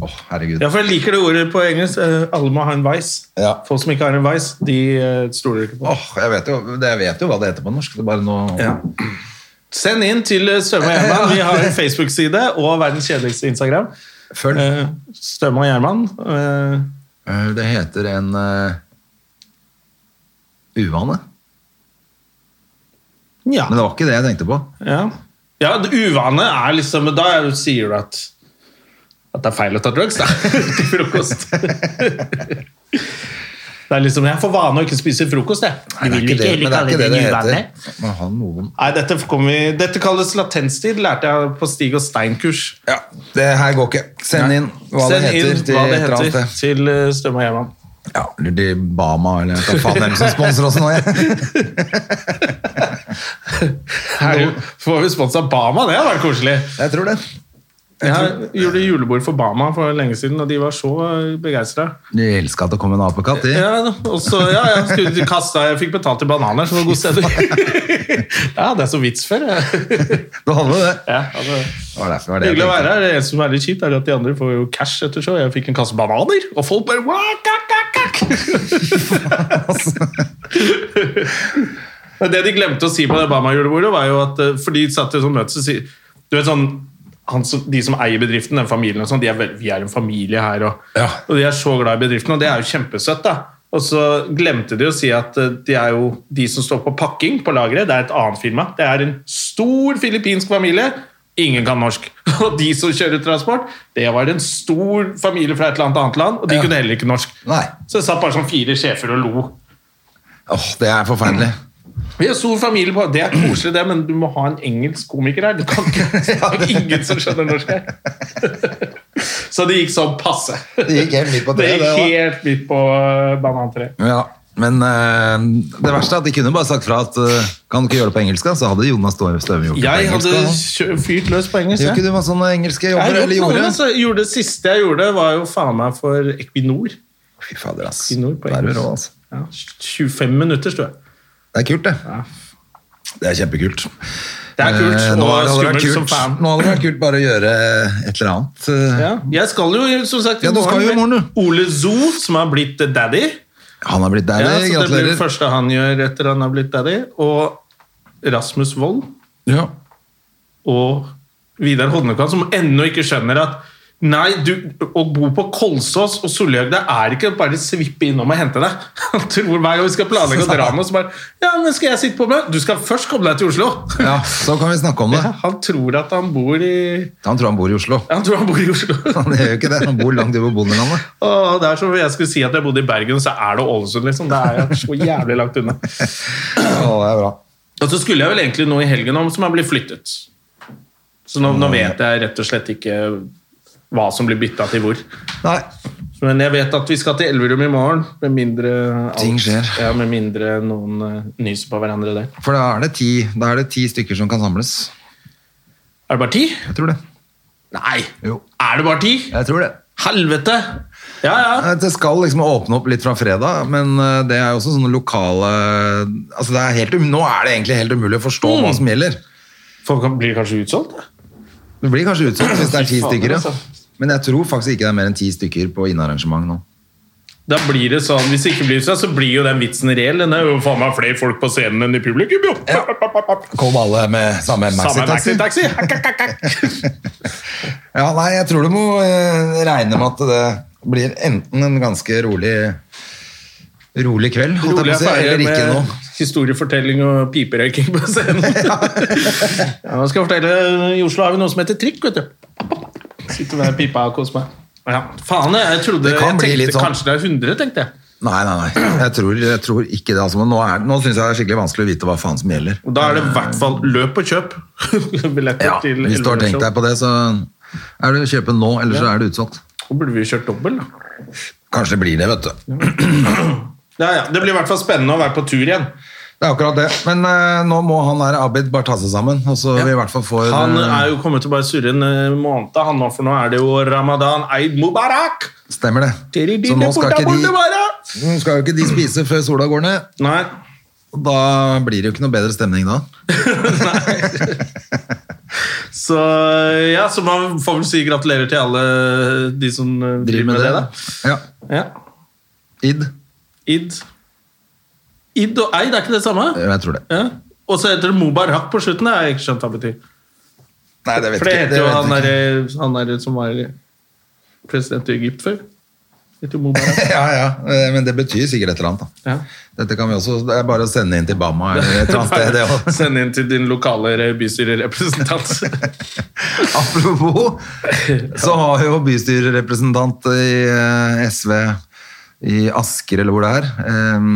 B: Åh, herregud.
A: Ja, for jeg liker det ordet på engelsk. eh, alle må ha en vice.
B: Ja.
A: Folk som ikke har en vice, de eh, stoler ikke på.
B: Åh, jeg vet, jo, jeg vet jo hva det heter på norsk. Det er bare noe
A: Ja. Send inn til eh, Støme og Gjerman. Vi har en Facebook-side og verdens kjedeligste Instagram.
B: Følg.
A: Eh, Støme og Gjerman. eh,
B: Eh, Det heter en eh, uvane.
A: ja.
B: Men det var ikke det jeg tenkte på.
A: ja. Ja, det uvane er liksom Da er- sier du at at det er feil å ta drugs da, til frokost. Det er liksom, Jeg får vane å ikke spise frokost, jeg. Du
B: Nei, det er ikke
A: vil ikke
B: det- men
A: heller
B: det er
A: kalle
B: ikke
A: det
B: det
A: en
B: det
A: uvane.
B: heter. Man har noen
A: Nei, dette, kommer vi, dette kalles latenstid, lærte jeg på Stig og Stein-kurs.
B: Ja, det her går ikke. Send inn hva
A: Send
B: det heter.
A: inn
B: til
A: hva det
B: et eller annet
A: heter
B: sted.
A: til eh, Støme og Gjerman.
B: Ja, eller de Bama, eller hva faen er det som sponser oss nå? Jeg.
A: Her er jo- Får vi spons av Bama, det hadde vært koselig.
B: jeg tror det.
A: Jeg gjorde julebord for Bama for lenge siden, og de var så eh, begeistra.
B: De elska at det kom en apekatt, de.
A: Ja, og så, ja, jeg, skulle til kassa, jeg fikk betalt i bananer, som var god stemning. ja, det er så vits før. jeg.
B: Du hadde jo det.
A: ja, altså,
B: Det var derfor det var det jeg
A: hyggelig å
B: tenkte.
A: være her. Det som er litt kjipt, er at de andre får jo cash etter show. Jeg fikk en kasse bananer, og folk bare «Wah, kak, kak, kak!» Men det de glemte å si på det Bama-julebordet, var jo at eh, For de satt i sånn møte, så sier Du vet sånn han, som- de som eier bedriften, den familien og sånn, de er, vel- vi er en familie her, og,
B: Ja.
A: og de er så glad i bedriften, og det er jo kjempesøtt, da. Og så glemte de å si at eh, de er jo de som står på pakking på lageret, det er et annet firma. Det er en stor filippinsk familie, ingen kan norsk. Og de som kjører transport, det var en stor familie fra et eller annet annet land, og de
B: Ja.
A: kunne heller ikke norsk.
B: Nei.
A: Så det satt bare sånn fire sjefer og lo.
B: Åh, det er forferdelig.
A: Vi har stor familie på, Det er koselig, det, men du må ha en engelsk komiker her. Du kan ikke, det er ingen som skjønner norsk her. Så det gikk sånn passe.
B: Det gikk helt midt på
A: Det
B: treet,
A: gikk
B: det,
A: helt midt på eh, banantreet.
B: Ja, men eh, det verste er at de kunne bare sagt fra at eh, kan du ikke gjøre det på engelsk, da? Så hadde Jonas Stø- Støme gjort det på
A: Jeg
B: engelsk.
A: hadde
B: da.
A: kjø- fyrt løs på engelsk.
B: Gjør
A: jeg.
B: ikke du masse sånne engelske
A: Jeg har altså.
B: jobber, eller
A: gjort noe,
B: gjorde?
A: men så gjorde Det siste jeg gjorde, var jo faen meg for Equinor.
B: Fy fader, ass.
A: I nord på
B: Da er du
A: engelsk.
B: rå, altså.
A: Ja, 25 minutter, sto jeg.
B: Det er kult, det. Det er kjempekult.
A: Det er kult,
B: Eh, nå
A: og
B: hadde det vært
A: skummelt som
B: kult-
A: faen.
B: Nå hadde det vært kult bare å gjøre et eller annet. eh,
A: Ja. Jeg skal jo som sagt i
B: Ja, du skal jo i morgen, du.
A: Ole Zoo, som har blitt daddy.
B: Han har blitt
A: Ja,
B: daddy,
A: så det blir det
B: gratulerer.
A: første han gjør etter han har blitt daddy. Og Rasmus Wold
B: Ja.
A: og Vidar Hodnekvam, som ennå ikke skjønner at nei, du, å bo på Kolsås og Solhjøg, det er ikke bare svippe innom og hente deg. Han tror hver gang vi skal planlegge å dra med, så bare Ja, men skal jeg sitte på med? Du skal først komme deg til Oslo!
B: ja, så kan vi snakke om det.
A: Han tror at han bor i
B: Han tror han bor i Oslo.
A: Han tror han bor i Oslo.
B: Han gjør jo ikke det. Han bor langt ute på bondelandet.
A: Åh, det er som om jeg skulle si at jeg bodde i Bergen, så er det Ålesund, liksom. Det er jo så jævlig langt unna.
B: Å, det er bra.
A: Og så skulle jeg vel egentlig noe i helgen om som er blitt flyttet. Så nå, nå vet jeg rett og slett ikke hva som blir bytta til hvor.
B: Nei.
A: Men jeg vet at vi skal til Elverum i morgen, med mindre alt-
B: Ting skjer.
A: Ja, med mindre noen eh, nyser på hverandre der.
B: For da er, det ti, da er det ti stykker som kan samles.
A: Er det bare ti?
B: Jeg tror det.
A: Nei!
B: Jo.
A: Er det bare ti?
B: Jeg tror det.
A: Helvete! Ja, ja.
B: Det skal liksom åpne opp litt fra fredag, men eh, det er jo også sånne lokale altså det er helt, um- Nå er det egentlig helt umulig å forstå
A: Mm.
B: hva som gjelder.
A: Folk kan- blir kanskje utsolgt? da?
B: Det blir kanskje utsolgt hvis det er ti
A: Fy faen,
B: stykker. Ja.
A: altså.
B: Men jeg tror faktisk ikke det er mer enn ti stykker på innarrangement nå.
A: Da blir det sånn, Hvis det ikke blir utsolgt, så blir jo den vitsen reell. Den er jo faen meg flere folk på scenen enn i publikum, jo!
B: Kom alle med samme
A: Samme
B: maxitaxi?
A: maxitaxi! Hakk-hakk-hakk.
B: Ja, nei, jeg tror du må eh, regne med at det blir enten en ganske rolig rolig kveld, holdt
A: Rolig
B: jeg på å si,
A: affære
B: eller ikke
A: med
B: noe.
A: historiefortelling og piperøyking på scenen. ja, nå skal jeg fortelle, eh, I Oslo har vi noe som heter trikk, vet du. Sitter med pipa og koser meg. Ja, faen, jeg trodde
B: Det kan
A: jeg
B: bli litt
A: tenkte,
B: sånn.
A: Kanskje det er 100, tenkte jeg.
B: Nei, nei, nei. Jeg tror, jeg tror ikke det. Altså, men nå er- nå syns jeg det er skikkelig vanskelig å vite hva faen som gjelder.
A: Og Da er det i hvert fall løp og kjøp. Billetter
B: Ja,
A: til
B: hvis du har tenkt deg på det, så er det å kjøpe nå, ellers så er det utsolgt.
A: Da burde vi kjørt dobbel, da.
B: Kanskje det blir det, vet du.
A: Ja, ja. Det blir i hvert fall spennende å være på tur igjen.
B: Det er akkurat det. Men eh, nå må han der Abid bare ta seg sammen, og så vi i hvert fall får
A: Han
B: eh,
A: er jo kommet til å bare surre en eh, måned, han nå, for nå er det jo ramadan eid mubarak!
B: Stemmer det. Så nå skal, ikke de, nå skal jo ikke de spise før sola går ned.
A: Nei.
B: Og Da blir det jo ikke noe bedre stemning da.
A: Så ja, så man får vel si gratulerer til alle de som eh,
B: Driver med det, da. Ja.
A: da. Ja.
B: Id.
A: Id. Id og eid, er ikke det samme?
B: Jeg tror det.
A: Ja. Og så heter det mubarak på slutten, jeg har ikke skjønt hva det betyr.
B: Nei, det vet
A: For det
B: ikke.
A: heter jo
B: vet
A: han
B: ikke.
A: derre han der som var president i Egypt før. Heter jo Mubarak.
B: Ja, ja. eh, Men det betyr sikkert et eller annet, da.
A: Ja.
B: Dette kan vi også, Det er bare å sende inn til Bama eller et eller annet sted. det også.
A: Send inn til din lokale re- bystyrerepresentant.
B: Apropos, så har jo bystyrerepresentant i eh, SV i Asker, eller hvor det er, eh,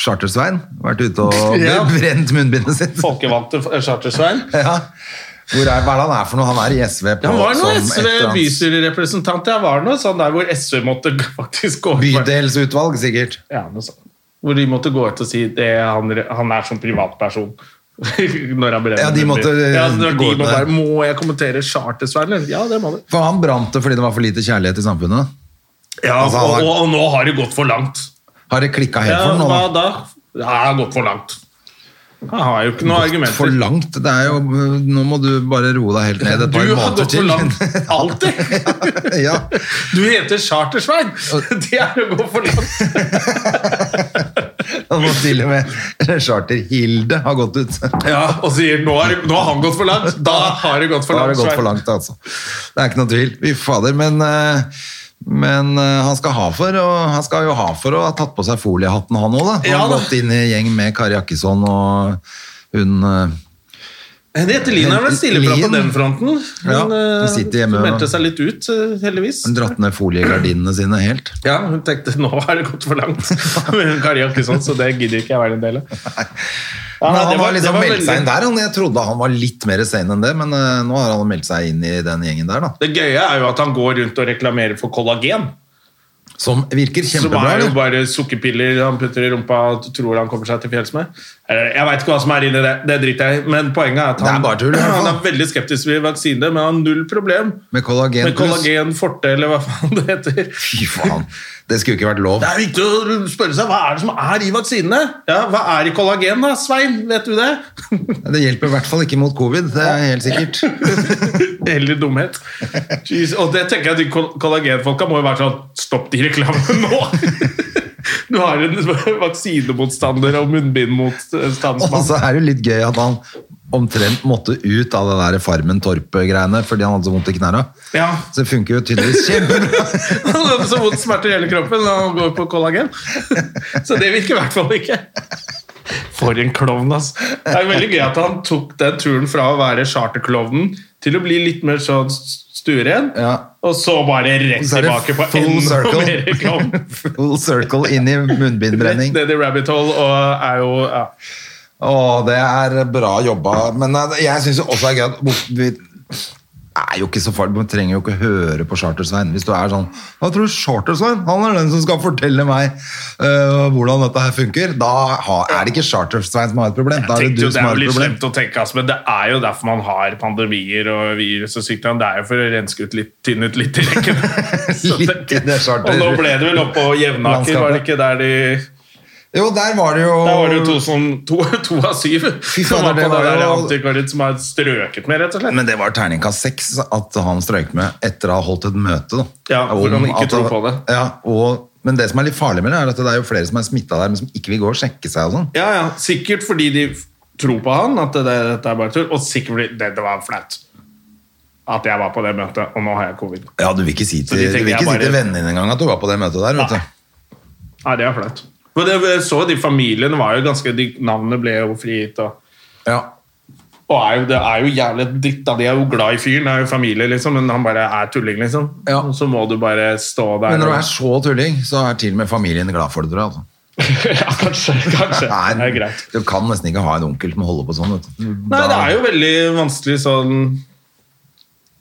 B: Charter-Svein, vært ute og
A: Ja.
B: brent munnbindet sitt.
A: Folkevalgte f- Charter-Svein.
B: Ja. Hvor er, hva er det han er for noe? Han er i SV på
A: Han var
B: som
A: noe
B: et eller annet
A: SV-bystyrerepresentant. Jeg var noe sånn der hvor SV måtte g- faktisk gå ut.
B: Bydelsutvalg, sikkert.
A: Ja, noe sånt. Hvor de måtte gå ut og si det han, re- han er som privatperson. når han brenner.
B: Ja, de måtte,
A: ja, altså,
B: eh,
A: når de
B: gå ut
A: må
B: med
A: bare,
B: det.
A: Må jeg kommentere Charter-Svein? eller? Ja, det må du.
B: For han brant det fordi det var for lite kjærlighet i samfunnet.
A: Ja,
B: Altså, han
A: og,
B: er-
A: og, og nå har det gått for langt.
B: Har det klikka helt
A: Ja,
B: for ham nå?
A: hva
B: da?
A: da? Ja, jeg har gått for langt. Jeg har jo ikke noen argumenter.
B: For langt. Det er jo, nå må du bare roe deg helt ned et
A: du
B: par
A: har
B: måneder
A: gått for
B: til.
A: langt. Alltid!
B: ja.
A: Du heter Chartersvein! Det er å gå for langt.
B: Og nå til og med Charter-Hilde har gått ut.
A: Ja, Og sier nå har, nå har han gått for langt. Da har det gått for
B: Da har
A: langt.
B: det gått
A: Svein.
B: for langt, altså. Det er ikke noe tvil. Fy fader. Men, eh, men eh, han, skal ha for, og, han skal jo ha for å ha tatt på seg foliehatten, han òg, da. Han
A: Ja,
B: har
A: da.
B: gått inn i gjeng med Kari Jakkesson og hun eh,
A: Henriette Lien er vel stille fra på
B: Lien.
A: den fronten. Hun,
B: Ja, hun
A: eh,
B: sitter hjemme og-
A: meldte seg litt ut, eh, heldigvis.
B: Hun dratt ned foliegardinene sine helt.
A: Ja, Hun tenkte nå har det gått for langt. Men Kari Jakkesson, så det gidder ikke jeg være en del av. Ja,
B: Men
A: nei, det
B: han
A: var-
B: var liksom
A: det var
B: meldt seg
A: veldig-
B: inn der, han. Jeg trodde han var litt mer sein enn det, men eh, nå har han meldt seg inn i den gjengen der, da.
A: Det gøye er jo at han går rundt og reklamerer for kollagen.
B: Som virker
A: Som
B: kjempebra.
A: er jo
B: eller?
A: bare sukkerpiller han putter i rumpa og tror han kommer seg til fjells med. Eller, Jeg veit ikke hva som er inni det, det driter jeg i, men poenget er at
B: Det
A: han
B: er bare tull, i hvert fall.
A: han er veldig skeptisk til vaksine, men han har null problem
B: Med kollagen
A: med
B: pluss.
A: kollagen forte, eller hva faen det heter.
B: Fy faen. Det skulle ikke vært lov.
A: Det er viktig å spørre seg hva er det som er i vaksinene? Ja, Hva er i kollagen, da, Svein? Vet du det?
B: Det hjelper i hvert fall ikke mot covid, det er helt sikkert.
A: Eller dumhet. Jeez. Og det tenker jeg at de kol- kollagenfolka må jo være sånn Stopp de reklamene nå! Du har en vaksinemotstander og
B: Og
A: munnbindmotstandsmann.
B: så er det jo litt gøy at han omtrent måtte ut av det der Farmen Torp-greiene fordi han hadde så vondt i knærne.
A: Ja.
B: Så det funker jo tydeligvis kjempebra.
A: Han hadde så vondt smerter i hele kroppen når han går på kollagen. Så det virker i hvert fall ikke. For en klovn, altså. Det er veldig gøy at han tok den turen fra å være charterklovnen til å bli litt mer sånn stueren,
B: Ja.
A: og så bare rett
B: Så er det
A: tilbake på
B: full
A: enda
B: circle.
A: mer klovn.
B: Full circle inn i
A: Rett
B: munnbindbrenning.
A: ned i rabbit hole og er jo ja.
B: Å, det er bra jobba. Men eh, jeg syns også det er gøy at hvor- vi er jo ikke så farlig, man trenger jo ikke høre på Charter-Svein. Hvis du er sånn Hva tror du Charter-Svein? Han er den som skal fortelle meg eh, hvordan dette her funker. Da har, er det ikke Charter-Svein som har et problem, da er det
A: tenkte
B: du
A: jo det
B: som
A: er
B: har
A: jo
B: et
A: litt
B: problem.
A: slemt å tenke, altså, men det er jo derfor man har pandemier og virus og sykdom. Det er jo for å renske ut litt, tynne ut litt i rekken. Så
B: Litt
A: tenker
B: i
A: jeg.
B: det charter-
A: og nå ble det vel oppå Jevnaker, var det ikke der de
B: Jo, der var det jo
A: Der var det jo to, som, to, to av syv som
B: fader,
A: var
B: det
A: på det,
B: var
A: der
B: jo-
A: antikvariet som har strøket med, rett og slett.
B: Men det var terningkast seks at han strøyk med etter å ha holdt et møte. Da.
A: Ja, hvor
B: Om
A: han ikke
B: at-
A: tror på det.
B: Ja, og, men det som er litt farlig med det, er at det er jo flere som er smitta der, men som ikke vil gå og sjekke seg og sånn.
A: Ja, ja, sikkert fordi de tror på han, at det, dette er bare tull, og sikkert fordi det, det var flaut. At jeg var på det møtet, og nå har jeg covid.
B: Ja, du vil ikke si til, du
A: de
B: vil
A: tenker
B: ikke
A: jeg
B: si til
A: bare-
B: vennene dine engang at du var på det møtet der, vet
A: Nei.
B: du.
A: Nei, det er flaut. Men det, jeg så de familiene var jo ganske de, Navnene ble jo frigitt. Og,
B: Ja.
A: og er jo, det er jo jævlig dritt, da. De er jo glad i fyren, det er jo familie, liksom, men han bare er tulling, liksom.
B: Ja.
A: Og så må du bare stå der.
B: Men når du
A: og-
B: er så tulling, så er til og med familien glad for det, tror jeg. Altså.
A: ja, kanskje. kanskje.
B: Nei,
A: det er greit.
B: Du kan nesten ikke ha en onkel som holder på sånn. Vet du.
A: Nei,
B: Da-
A: det er jo veldig vanskelig sånn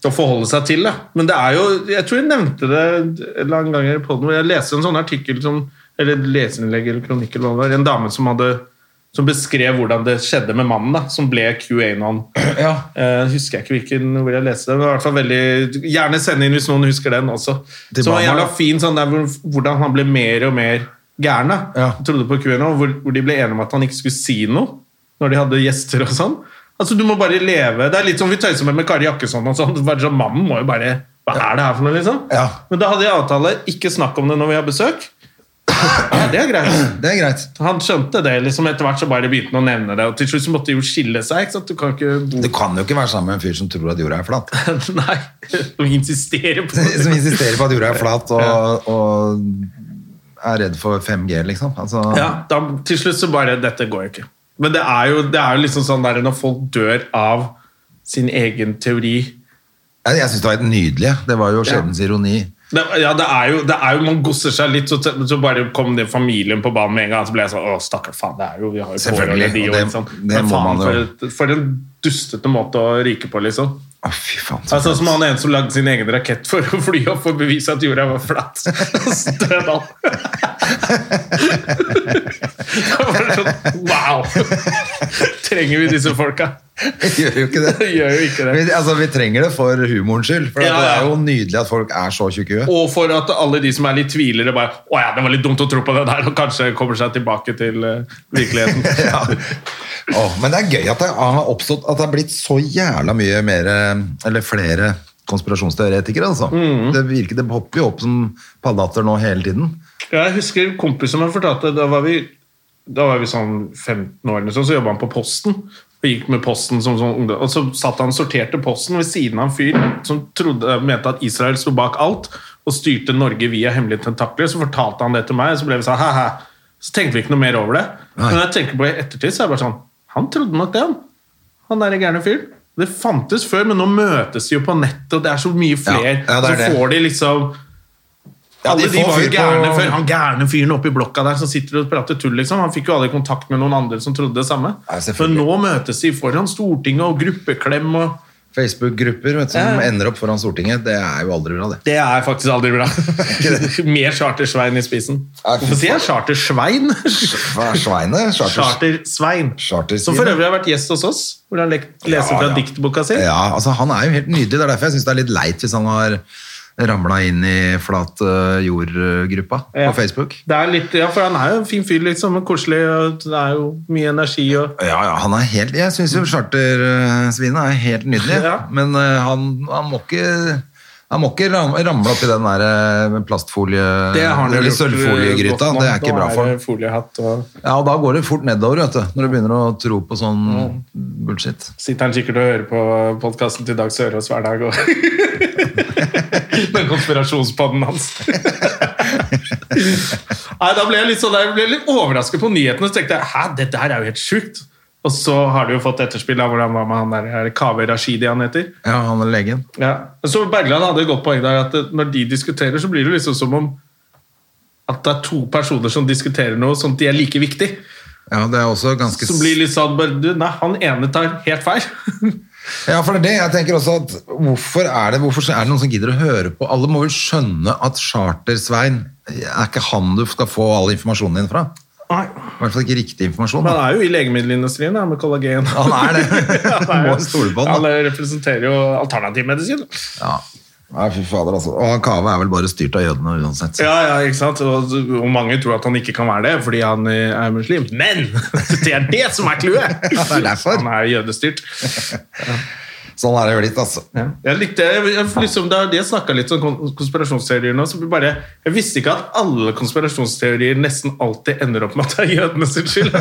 A: å forholde seg til, da. Men det er jo Jeg tror jeg nevnte det en eller annen gang i podden, hvor jeg leste en sånn artikkel som Eller leserinnlegg eller kronikk eller hva det var. En dame som hadde som beskrev hvordan det skjedde med mannen, da, som ble QAnon.
B: ja.
A: Eh, husker jeg ikke hvilken hvor jeg leste det, men i hvert fall veldig Gjerne send inn hvis noen husker den også.
B: Til
A: Som var
B: mamma.
A: jævla fin sånn der hvor, hvordan han ble mer og mer gæren. da.
B: Ja.
A: Trodde på QNO, hvor, hvor de ble enige om at han ikke skulle si noe når de hadde gjester og sånn. Altså, du må bare leve. Det er litt som vi tøyser med med Kari Jakkesson og sånn. Bare sånn, Mannen må jo bare Hva er det her for noe, liksom?
B: Ja.
A: Men da hadde jeg avtale ikke snakk om det når vi har besøk. Ja, det er greit.
B: Det er greit.
A: Han skjønte det. liksom Etter hvert så bare begynte han å nevne det. Og til slutt så måtte de jo skille seg. ikke sant? Du kan ikke bo
B: Du kan jo ikke være sammen med en fyr som tror at jorda er flat.
A: Nei, som insisterer på det.
B: Som insisterer på at jorda er flat og, og er redd for 5G, liksom. Altså,
A: Ja, da, til slutt så bare Dette går jo ikke. Men det er jo, det er jo liksom sånn der når folk dør av sin egen teori
B: Jeg, jeg syns det var helt nydelig. jeg. Det var jo skjebnens ironi.
A: det, ja, det er, jo, det er jo, Man gosser seg litt, så, så bare kom det familien på banen med en gang. Så ble jeg sånn Å, stakkar faen, det er jo vi har jo
B: Selvfølgelig,
A: pårørende, de
B: og
A: òg.
B: det-
A: Liksom.
B: det
A: Men
B: må
A: faen,
B: man
A: for,
B: jo.
A: et- for en dustete måte å ryke på, liksom.
B: Å, fy faen. så
A: Det er sånn
B: flaut.
A: som han ene som lagde sin egen rakett for å fly opp for å bevise at jorda var flatt. Og så døde han. Det var sånn Wow! Trenger vi disse folka?
B: Vi gjør jo ikke det.
A: Vi gjør jo ikke det.
B: Vi, altså, vi trenger det for humorens skyld. For at
A: Ja,
B: det
A: ja.
B: er jo nydelig at folk er så tjukke i huet.
A: Og for at alle de som er litt tvilere, bare Å ja, det var litt dumt å tro på det der, og kanskje kommer seg tilbake til eh, virkeligheten.
B: Ja. Å, men det er gøy at det har oppstått At det har blitt så jævla mye mer Eller flere konspirasjonsteoretikere, altså.
A: Mm.
B: Det virker, det popper jo opp som paddehatter nå hele tiden.
A: Jeg husker en kompis som jeg fortalte Da var vi, da var vi sånn 15 år eller så, så jobba han på Posten. Og gikk med posten som sånn ungdom. Og så satt han og sorterte posten ved siden av en fyr som trodde, mente at Israel sto bak alt og styrte Norge via hemmelige tentakler. Så fortalte han det til meg, og så ble vi sånn hæ-hæ. Så tenkte vi ikke noe mer over det.
B: Nei.
A: Men når jeg tenker på det i ettertid, så er det bare sånn Han trodde nok det, han. Han der gærne fyren. Det fantes før, men nå møtes de jo på nettet, og det er så mye flere.
B: ja, det er
A: så
B: det.
A: får de liksom
B: Ja,
A: alle
B: de
A: de,
B: får
A: var jo
B: fyr på-
A: gærne før. Han gærne fyren oppe i blokka der som sitter og prater tull, liksom. Han fikk jo aldri kontakt med noen andre som trodde det samme.
B: Ja,
A: Men
B: selvfølgelig.
A: nå møtes de foran Stortinget og gruppeklem og
B: Facebook-grupper vet du, som
A: Ja.
B: ender opp foran Stortinget, det er jo aldri bra, det.
A: Det er faktisk aldri bra. Med Charter-Svein i spissen.
B: Ja, fy
A: Hvorfor sier jeg Charter-Svein?
B: Hva er Sveinet? Charter...
A: Charter-Svein.
B: Charter-Svein.
A: Som for øvrig har vært gjest hos oss, hvor han le- leser
B: Ja,
A: fra
B: ja.
A: diktboka si.
B: Ja, altså han er jo helt nydelig. Det er derfor jeg syns det er litt leit hvis han har ramla inn i flat eh, jord-gruppa
A: Ja.
B: på Facebook.
A: Det er litt, ja, for han er jo en fin fyr, liksom. og Koselig, og det er jo mye energi og
B: Ja, ja, han er helt Jeg syns jo chartersvinet er helt nydelig,
A: Ja.
B: men eh, han, han må ikke Han må ikke ram- ramle oppi den der eh, plastfolie...
A: Det har han jo
B: eller
A: gjort, eh, godt
B: sølvfoliegryta.
A: nå.
B: Det er ikke
A: Nå
B: bra
A: er
B: for
A: det foliehatt, og
B: Ja, og da går det fort nedover, vet du. Når du begynner å tro på sånn bullshit.
A: sitter han sikkert og hører på podkasten til Dag Sørås hver dag. Og den konspirasjonspodden hans. Nei, da ble jeg litt sånn der, jeg ble litt overrasket på nyhetene. Så tenkte jeg hæ, dette her er jo helt sjukt. Og så har du jo fått etterspill av hvordan var med han der er det Kaveh Rashidi han heter.
B: Ja, han er legen.
A: Ja. Så Bergland hadde et godt poeng der, at eh, når de diskuterer, så blir det liksom som om at det er to personer som diskuterer noe, sånn at de er like viktig.
B: Ja, det er også ganske...
A: Som blir litt sånn bare, du, Nei, han ene tar helt feil.
B: Ja, for det er det. Jeg tenker også at hvorfor er det, hvorfor er det noen som gidder å høre på? Alle må vel skjønne at Charter-Svein er ikke han du skal få all informasjonen din fra.
A: Nei.
B: I hvert fall ikke riktig informasjon.
A: Men
B: Da.
A: han er jo i legemiddelindustrien da, med kollagen.
B: Han er det. Du
A: er
B: må
A: jo-
B: stole på
A: han eh,
B: han. Da.
A: representerer jo alternativmedisin.
B: Ja. Nei, fy fader, altså. Og han Kave er vel bare styrt av jødene uansett.
A: Ja, ja, ikke sant? Og, og mange tror at han ikke kan være det fordi han eh, er muslim. Men det er det som er clouet!
B: det er derfor.
A: Han er jødestyrt.
B: Sånn er det jo litt, altså.
A: Jeg likte, jeg, jeg, liksom, da jeg snakka litt om kon- konspirasjonsteorier nå, så blir bare, jeg visste ikke at alle konspirasjonsteorier nesten alltid ender opp med at det er jødene sin skyld.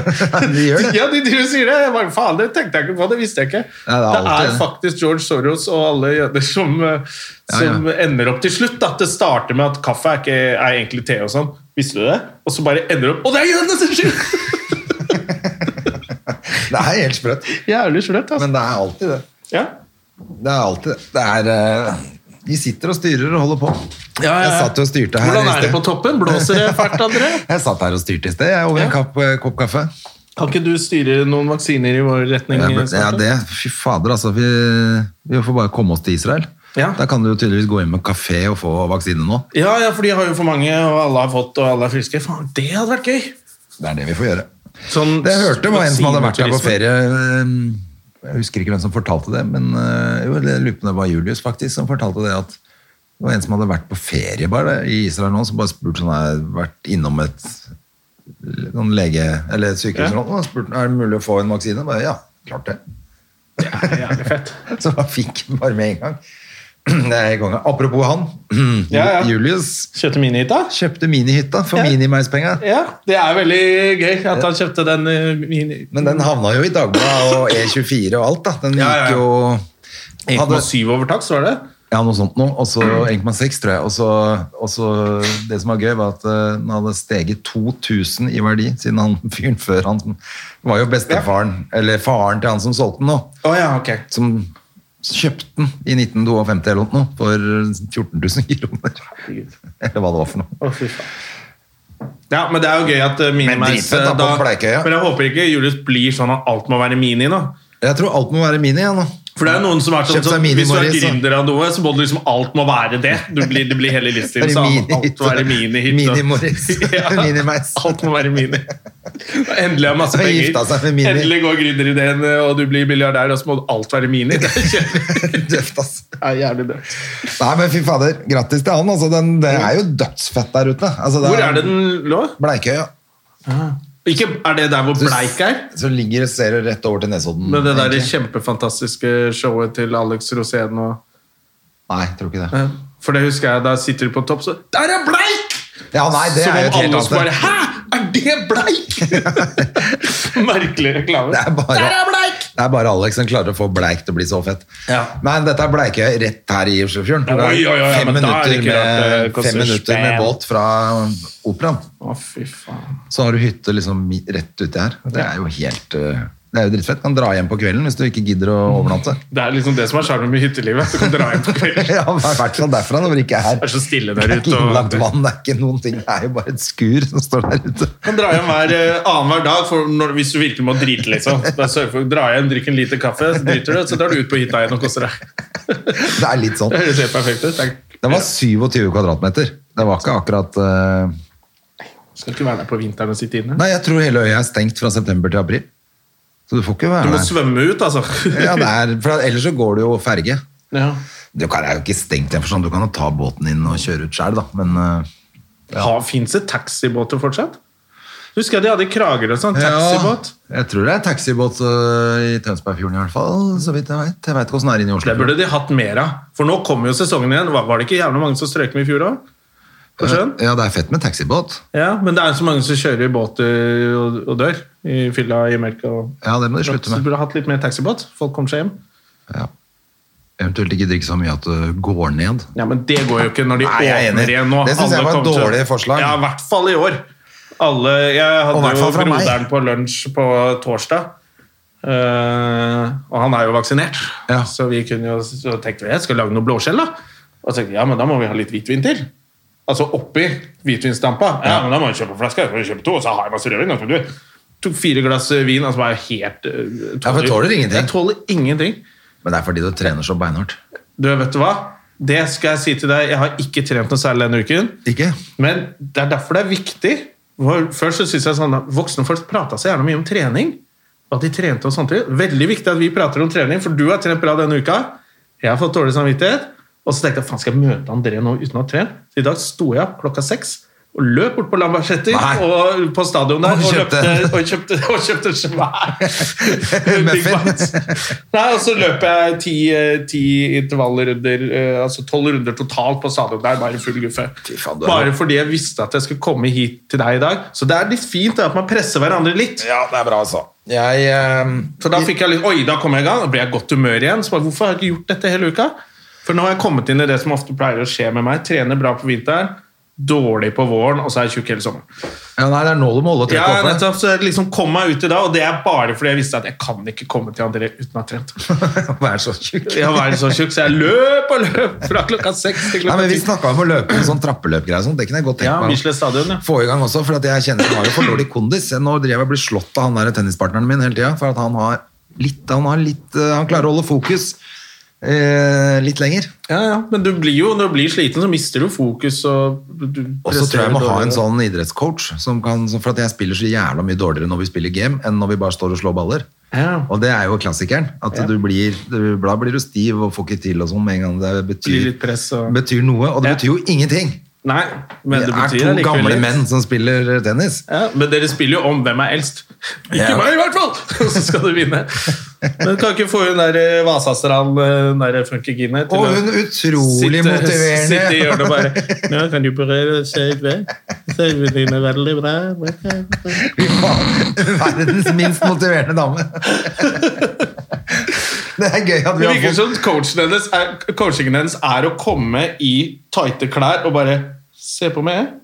B: de gjør det.
A: Ja, de driver og sier det. Jeg bare, faen, det tenkte jeg ikke på, det visste jeg ikke.
B: Ja, det er
A: det
B: alltid
A: er
B: det.
A: faktisk George Soros og alle jøder som, eh,
B: Ja,
A: som ender opp til slutt. Da. Det starter med at kaffe er, ikke, er egentlig te og sånn. Visste du det? Og så bare ender det opp Å, det er jødene sin skyld!
B: Det er helt sprøtt.
A: Jævlig slørt, altså.
B: Men det er alltid det.
A: Ja.
B: Det er alltid det. Det er eh, De sitter og styrer og holder på.
A: ja, ja.
B: Jeg satt jo og styrte her
A: Hvordan
B: i
A: er det
B: sted.
A: på toppen? Blåser det fælt, André?
B: Jeg satt her og styrte i sted, jeg, over
A: Ja.
B: en kapp, eh, kopp kaffe.
A: Kan ikke du styre noen vaksiner i vår retning?
B: Ja, men- ja,
A: Svante?
B: det, fy fader, altså. Vi, vi får bare komme oss til Israel.
A: Ja.
B: Da kan du jo tydeligvis gå inn med kafé og få vaksine nå.
A: ja, ja, for de har jo for mange, og alle har fått, og alle er friske. Faen, det hadde vært gøy!
B: Det er det vi får gjøre.
A: Sånn
B: Det jeg hørte var en som hadde vært der på
A: vaksineturisme.
B: ferie. eh, Jeg husker ikke hvem som fortalte det, men eh, jo, jeg lurer på om det var Julius faktisk som fortalte det at det var en som hadde vært på ferie bare i Israel nå, som bare spurte sånn, har vært innom et noen lege, eller et sykehus
A: Ja.
B: eller noe, og spurte er det mulig å få en vaksine. Bare, ja, klart det.
A: Det er jævlig fett.
B: Så han fikk den bare med en gang. Det er helt konge. Apropos han,
A: Ja, ja.
B: Julius
A: Kjøpte minihytta?
B: kjøpte minihytta for
A: Ja.
B: minimeispenga.
A: Ja, det er veldig gøy at han kjøpte den eh, mini...
B: Men den havna jo i Dagbladet og E24 og alt, da. Den
A: Ja, ja, ja.
B: gikk jo hadde,
A: 1,7 overtaks, var det?
B: Ja, noe sånt noe. Og så 1,6, tror jeg. Og så, og så Det som var gøy, var at eh, den hadde steget 2000 i verdi siden han fyren før han var jo bestefaren, eller faren til han som solgte den nå,
A: Å ja, ok.
B: som kjøpte den i 1952 eller noe for 14 000 kroner. Eller hva det var for noe.
A: Å, fy faen. Ja, men det er jo gøy at eh, minimeis
B: dritfett da,
A: eh,
B: på Bleikøya.
A: Men jeg håper ikke Julius blir sånn at alt må være mini nå.
B: Jeg tror alt må være mini, jeg nå.
A: For det er jo noen som er sånn,
B: Kjøpt seg
A: sånn Hvis du er
B: mini-Morris, så-
A: gründer av noe, så må du liksom alt må være det. Du blir, det blir hele livsstilen.
B: Bare
A: Så alt
B: mini-hytte.
A: alt må være mini-hytte.
B: Mini-Morris. Mini-meis.
A: Alt må være mini. Og Endelig har masse
B: Og
A: penger.
B: gifta seg med mini.
A: Endelig går gründerideen, og du blir milliardær, og så må alt være mini. Det er kjempe-
B: Døft, ass.
A: det er jævlig dødt.
B: Nei, men fy fader. Grattis til han. Altså, den, det er jo dødsfett der ute. Altså,
A: Hvor er det den lå?
B: Bleikøya.
A: Ikke, er det der hvor Bleik er?
B: Så ligger det ser du rett over til Nesodden.
A: Med det der
B: egentlig.
A: kjempefantastiske showet til Alex Rosén og
B: Nei, jeg tror ikke det.
A: Ja, For det husker jeg, da sitter du på topp, så Der er Bleik!
B: Ja, nei, det
A: Som
B: er jo
A: om
B: et helt
A: alle som bare
B: annet.
A: Hæ! Er det Bleik?! Merkelig reklame.
B: Det er bare-
A: Der er Bleik!
B: Det er bare Alex som klarer å få Bleik til å bli så fett.
A: Ja.
B: Men dette er Bleikøya rett her i Oslofjorden. Det er
A: Oi, oi, oi,
B: fem
A: men da er
B: minutter,
A: det ikke eh, rart det
B: med,
A: koster
B: fem minutter med
A: spenn.
B: båt fra operaen.
A: Å, fy faen.
B: Så har du hytte liksom mi- rett uti her. Det er jo helt eh, Det er jo drittfett. Kan dra hjem på kvelden hvis du ikke gidder å
A: Mm.
B: overnatte.
A: Det er liksom det som er sjarmen med hyttelivet. Du kan dra hjem på kvelden.
B: Ja, i hvert fall derfra når det ikke er
A: Det er så stille
B: Det
A: der
B: er ikke
A: ute. Og
B: innlagt vann, det er ikke noen ting. Det er jo bare et skur som står der ute.
A: Du kan dra hjem hver eh, annenhver dag for når, hvis du virkelig må drite, liksom. Da sørger du for å dra hjem, drikke en liter kaffe, så driter du, så drar du ut på hytta igjen og koser deg.
B: Det er litt sånn.
A: Det høres helt perfekt ut. Jeg
B: Den var 27 kvadratmeter. Det var ikke akkurat eh,
A: skal ikke være der på vinteren og sitte inne.
B: Nei, jeg tror hele øya er stengt fra september til april. Så du får ikke
A: Du
B: være
A: må
B: der.
A: svømme ut, altså.
B: Ja, det er, for ellers så går det jo ferge.
A: Ja.
B: Du kan, er jo ikke stengt igjen for sånn. Du kan jo ta båten inn og kjøre ut sjøl, da. Men eh,
A: Ja. Fins det taxibåter fortsatt? Husker jeg de hadde i Kragerø, sånn taxibåt.
B: Ja, jeg tror det er taxibåt øh, i Tønsbergfjorden i hvert fall, så vidt jeg vet. Jeg vet ikke hvordan det er inne i Oslo.
A: Det burde de hatt mer av. For nå kommer jo sesongen igjen. Var, var det ikke jævlig mange som strøk med i fjor òg? På sjøen?
B: Ja, det er fett med taxibåt.
A: Ja, men det er jo så mange som kjører i båt øh, og, og dør. I fylla i melka og
B: Ja, det må de slutte
A: Så de
B: med.
A: burde hatt litt mer taxibåt. Folk kommer seg hjem.
B: Eventuelt ikke drikke så mye at det går ned.
A: Ja, Men det går jo ikke når de
B: Nei, jeg er
A: åpner
B: enig.
A: igjen nå.
B: Det synes jeg
A: Alle
B: var et
A: kommer til-
B: dårlig forslag.
A: Ja, i hvert fall i år. Alle, jeg
B: Og i
A: hadde
B: hvert
A: jo
B: fall fra meg.
A: broderen på lunsj på torsdag. Eh, og han er jo vaksinert,
B: Ja.
A: så vi kunne jo så tenkte vi, jeg skal lage noe blåskjell. da Og så tenkte jeg, ja, men da må vi ha litt hvitvin til. Altså oppi hvitvinsdampa. Ja, men da må vi kjøpe en flaske, så vi kjøper to, og så har jeg masse rødvin. og så du- Tok fire glass eh, vin, altså var jeg helt eh,
B: Ja, for jeg tåler ingenting.
A: Jeg tåler ingenting.
B: Men det er fordi du trener så beinhardt.
A: Du, vet du hva? Det skal jeg si til deg. Jeg har ikke trent noe særlig denne uken.
B: Ikke?
A: Men det er derfor det er viktig. For først så synes jeg sånn at Voksne folk prata så gjerne mye om trening. og At de trente og sånt. Veldig viktig at vi prater om trening, for du har trent bra denne uka. Jeg har fått dårlig samvittighet. Og så tenkte jeg faen skal jeg møte André nå uten å ha trent? Så i dag sto jeg opp klokka seks og løp bort på Lambertseter
B: Nei.
A: og på stadion der
B: Og
A: og,
B: kjøpte-
A: løpte- og kjøpte, og kjøpte svær Big
B: Muffin.
A: Macs. Nei, og så løper jeg ti, eh, ti intervallrunder, eh, altså tolv runder totalt på stadion der, bare full guffe.
B: faen, du er-
A: Bare fordi jeg visste at jeg skulle komme hit til deg i dag. Så det er litt fint det, at man presser hverandre litt.
B: Ja, det er bra, altså. Jeg eh,
A: Så da fikk jeg litt Oi, da kom jeg i gang. Da ble jeg i godt humør igjen. Så bare, hvorfor har jeg ikke gjort dette hele uka? For nå har jeg kommet inn i det som ofte pleier å skje med meg. Trener bra på vinteren, dårlig på våren, og så er jeg tjukk hele sommeren.
B: ja, Nei, det er nå du må holde
A: Ja,
B: trykket oppe.
A: nettopp, så jeg liksom kom meg ut i dag, og det er bare fordi jeg visste at jeg kan ikke komme til André uten å ha trent.
B: Vær så tjukk.
A: Jeg var så tjukk, så jeg løp og løp fra klokka seks til
B: Nei,
A: klokka
B: men Vi
A: ti.
B: snakka om å løpe en sånn trappeløpgreie. og Sånn. Det kunne jeg godt tenkt
A: Ja,
B: meg.
A: Bislett stadion, ja.
B: Få i gang også, for at jeg kjenner jeg har jo for dårlig kondis. Jeg- Nå driver jeg og blir slått av han der tennispartneren min hele tida. For at han har litt, han har litt eh, Han klarer å holde fokus eh, litt lenger.
A: Ja, ja, men du blir jo, når du blir sliten, så mister du fokus. Og du
B: Og så tror jeg jeg må ha en
A: dårligere.
B: sånn idrettscoach, som kan, som- for at jeg spiller så jævla mye dårligere når vi spiller game, enn når vi bare står og slår baller.
A: Ja.
B: Og det er jo klassikeren. At du blir, du, da blir du stiv og får ikke til og sånn med en gang det
A: Blir
B: betyr,
A: litt press og-
B: betyr noe. Og det
A: Ja.
B: betyr jo ingenting!
A: Nei, men det,
B: det er
A: betyr
B: to
A: allikevel
B: gamle
A: litt.
B: menn som spiller tennis.
A: Ja, men dere spiller jo om hvem er eldst. Ikke
B: Ja.
A: meg, i hvert fall! Og så skal du vinne. Men kan ikke få hun der eh, Vasastrand, eh, den der funkygine til
B: Og
A: å
B: hun utrolig
A: sitte-
B: motiverende.
A: Sitte i hjørnet og bare Nå kan du prøve å se ut det. Så er det veldig bra.
B: Fy faen, Verdens minst motiverende dame. Det er gøy at vi
A: Det
B: har
A: virker
B: fått
A: som coachen hennes er, coachingen hennes er å komme i tighte klær og bare Se på meg,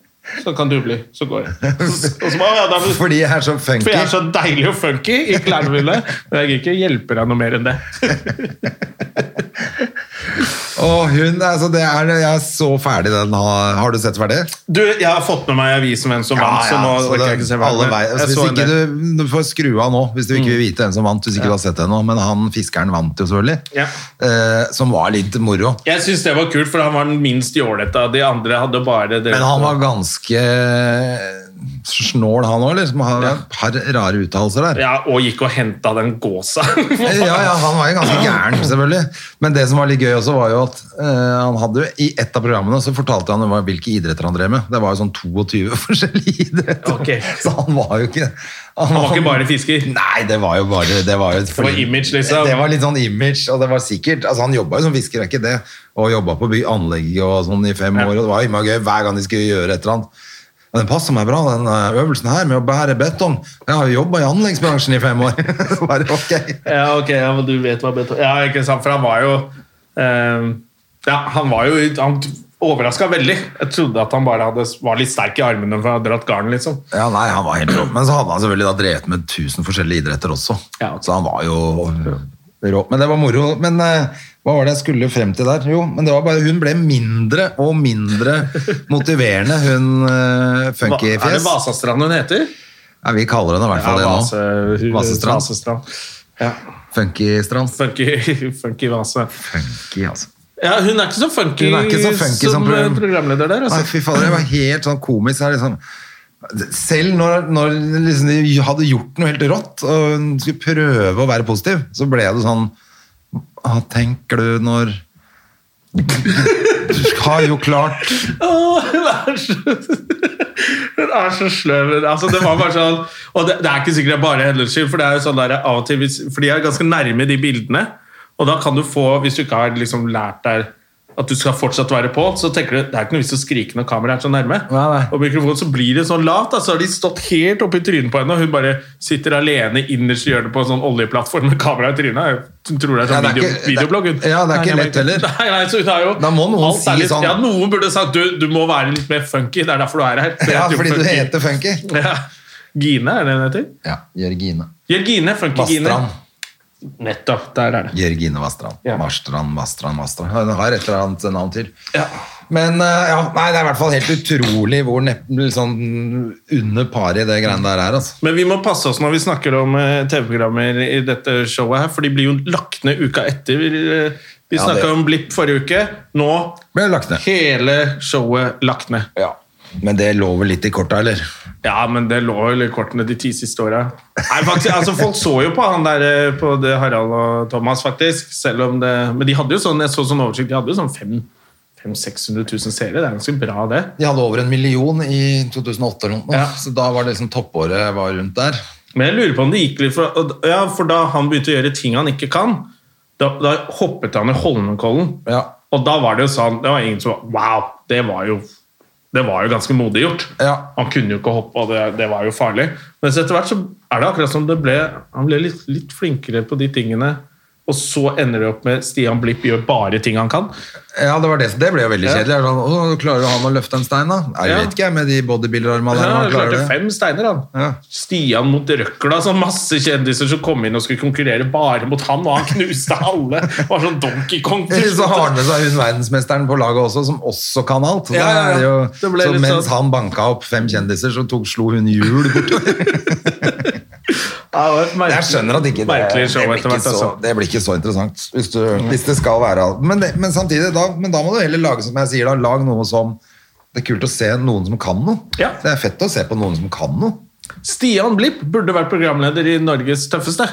A: så kan du bli. Så går jeg. Og så bare, ja, da, for
B: Fordi jeg er så funky.
A: jeg er så deilig og funky i klærne mine, men jeg gidder ikke hjelpe deg noe mer enn det.
B: Og hun, altså det er, jeg er så ferdig den. har- Har du sett ferdig?
A: Du, jeg har fått med meg i avisen hvem som vant, så nå
B: så
A: orker
B: det-
A: jeg ikke se hva
B: alle
A: det Mm. er.
B: vei- altså,
A: Jeg så
B: Hvis
A: en
B: ikke
A: del.
B: du, du får skru av nå, hvis du ikke vil vite hvem som vant. Hvis ikke du har sett det nå, Men han fiskeren vant jo selvfølgelig.
A: Ja.
B: Eh, som var litt moro.
A: Jeg syns det var kult, for han var den minst jålete av de andre. hadde bare det.
B: Men han var ganske eh, snål, han òg, eller? Som har
A: Ja.
B: et par rare uttalelser der. Eh,
A: Ja, Og gikk og henta den gåsa.
B: Ja, ja, han var jo ganske gæren, selvfølgelig. Men det som var litt gøy også, var jo at eh, han hadde jo i et av programmene så fortalte han hva, hvilke idretter han drev med. Det var jo sånn 22 forskjellige idretter.
A: Ok.
B: Så han var jo ikke
A: Han var ikke bare fisker.
B: Nei, det var jo bare Det var, jo et
A: var image, liksom.
B: Det var litt sånn image, og det var sikkert Altså, han jobba jo som fisker, er ikke det? Og jobba på by- anlegg og sånn i fem
A: Ja.
B: år, og det var jo innmari gøy hver gang de skulle gjøre et eller annet. Men den passer meg bra, den eh, øvelsen her med å bære betong. Jeg har jo jobba i anleggsbransjen i fem år. Så bare, ok.
A: Ja, ok, ja, men du vet hva beton... Ja, ikke sant, for han var jo eh, Ja, han var jo Han overraska veldig. Jeg trodde at han bare hadde, var litt sterk i armene for å ha dratt garn, liksom.
B: Ja, nei, han var helt rå. Men så hadde han selvfølgelig da drevet med tusen forskjellige idretter også.
A: Ja, ok.
B: Så han var jo øh, rå. Men det var moro. Men eh, hva var det jeg skulle frem til der? Jo, men det var bare, hun ble mindre og mindre motiverende, hun eh,
A: Hva,
B: funky
A: er det
B: fjes.
A: Vasastrand hun heter?
B: Ja, vi kaller henne i hvert fall det nå.
A: Vase-
B: Vasestrand.
A: Vasestrand. Ja.
B: Funky Strand.
A: Funky, funky Vase.
B: Funky, altså.
A: Ja, hun er ikke så funky, eh,
B: Hun er ikke så funky som, program-
A: programleder der.
B: Nei,
A: Altså.
B: fy fader, jeg var helt sånn komisk. Jeg liksom, selv når, når liksom de hadde gjort noe helt rått, og hun skulle prøve å være positiv, så ble det sånn Hva tenker du når Du har jo klart
A: Åh, hun er så Hun er så sløv. Altså, det var bare sånn, og det, det er ikke sikkert det er bare hennes skyld, for det er jo sånn der, av og til, hvis, for de er ganske nærme de bildene. Og da kan du få, hvis du ikke har liksom lært deg at du skal fortsatt være på, så tenker du det er ikke noe vits å skrike når kameraet er så nærme.
B: Nei, nei.
A: Og mikrofonen så blir det sånn lavt. da, Så har de stått helt oppi trynet på henne, og hun bare sitter alene innerst i hjørnet på en sånn oljeplattform med kamera i trynet. Hun tror det
B: Ja,
A: er sånn
B: det er
A: video,
B: ikke- det er-
A: videoblogg. hun.
B: ja, det er ikke
A: Nei,
B: lett heller.
A: Nei, nei, så hun er jo,
B: Da må noen
A: alt er
B: si
A: litt-
B: sånn-
A: Ja, noen burde sagt du, du må være litt mer funky, det er derfor du er her. For jeg
B: Ja,
A: heter jo
B: fordi du
A: Funky.
B: heter Funky.
A: ja. Gine, er det hun heter?
B: Ja, Jørgine.
A: Jørgine. Funky-Gine.
B: Vastrand.
A: Nettopp. Der er det.
B: Jørgine Vastrand.
A: Ja.
B: Marstrand, Vastrand, Vastrand. Hun har et eller annet navn til.
A: Ja.
B: Men eh, ja, nei, det er i hvert fall helt utrolig hvor nepp- sånn under paret det greiene der er. Altså.
A: Men vi må passe oss når vi snakker om eh, TV-programmer i dette showet her, for de blir jo lagt ned uka etter. Vi, eh, vi
B: Ja,
A: snakka
B: det-
A: om Blipp forrige uke. Nå
B: Ble lagt ned.
A: hele showet lagt ned.
B: Ja. Men det lå vel litt i korta, eller?
A: Ja, men det lå jo i kortene de ti siste åra. Nei, faktisk, altså, folk så jo på han der eh, på det Harald og Thomas, faktisk. Selv om det Men de hadde jo sånn, jeg så sånn oversikt, de hadde jo sånn 500 000-600 000 seere. Det er ganske bra, det.
B: De hadde over en million i 2008 eller noe,
A: Ja.
B: så da var det liksom toppåret var rundt der.
A: Men jeg lurer på om det gikk litt for, og- Ja, for da han begynte å gjøre ting han ikke kan, da, da hoppet han i Holmenkollen.
B: Ja.
A: Og da var det jo sånn Det var ingen som var, Wow! Det var jo det var jo ganske modig gjort.
B: Ja.
A: Han kunne jo ikke hoppe, og det, det var jo farlig. Men så etter hvert så er det akkurat som det ble Han ble litt, litt flinkere på de tingene, og så ender det opp med Stian Blipp gjør bare ting han kan.
B: Ja, det var det. Det ble jo veldig
A: Ja.
B: kjedelig. Jeg var Sånn, Å, klarer jo han å løfte en stein, da? Nei, Jeg
A: Ja.
B: vet ikke, jeg, med de bodybuilderarmene der. om
A: Han
B: han klarer
A: klarte
B: det.
A: fem steiner, han.
B: Ja.
A: Stian mot Røkla, så masse kjendiser som kom inn og skulle konkurrere bare mot han, og han knuste alle. Var sånn Donkey Kong.
B: Eller så har han med seg hun verdensmesteren på laget også, som også kan alt. Så,
A: Ja, ja, ja.
B: det er jo,
A: Det ble
B: så
A: litt
B: mens
A: sånn-
B: han banka opp fem kjendiser, så tok, slo hun hjul bortover.
A: Ja, det var et merkelig-
B: Jeg skjønner at ikke det,
A: merkelig show
B: det, blir
A: etter
B: ikke
A: hvert,
B: så,
A: altså.
B: det blir ikke så interessant. Hvis, du, hvis det skal være alt. Men, det, men samtidig, da, men da må du heller lage som jeg sier, da, lag noe som Det er kult å se noen som kan noe.
A: Ja.
B: Det er fett å se på noen som kan noe.
A: Stian Blipp burde vært programleder i Norges tøffeste.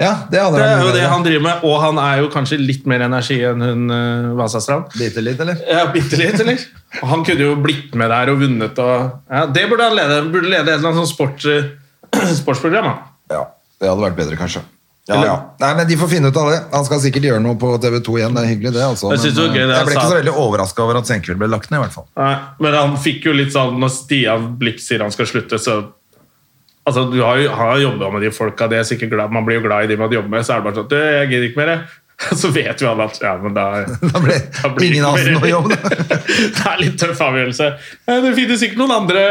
B: Ja, det hadde vært
A: Det er
B: mye
A: jo det
B: bedre.
A: han driver med, og han er jo kanskje litt mer energi enn hun eh, Vasastrand.
B: Biter litt, eller?
A: Ja, bitte litt, eller? Og Han kunne jo blitt med der og vunnet og ja, Det burde han lede. Han Burde lede et eller annet sånt sport, eh, sportsprogram. Han.
B: Ja, det hadde vært bedre, kanskje. Ja,
A: Eller-
B: ja. Nei, men De får finne ut av det. Han skal sikkert gjøre noe på TV2 igjen. Det er hyggelig, det. altså.
A: Jeg
B: Men,
A: synes det var gøy
B: eh,
A: det
B: jeg ble
A: han
B: ikke
A: sa.
B: så veldig overraska over at Senkveld ble lagt ned, i hvert fall.
A: Nei, men han fikk jo litt sånn Når Stian Blipp sier han skal slutte, så Altså, du har jo han har jobba med de folka, det er jeg sikkert glad Man blir jo glad i de man jobber med, så er det bare sånn Du, jeg gidder ikke mer, jeg. Så vet jo alle at Ja, men da
B: Da ble
A: da blir det
B: ingen
A: ikke
B: av oss
A: mer.
B: noe jobb. da.
A: det er litt tøff avgjørelse. Ja, Det finnes sikkert noen andre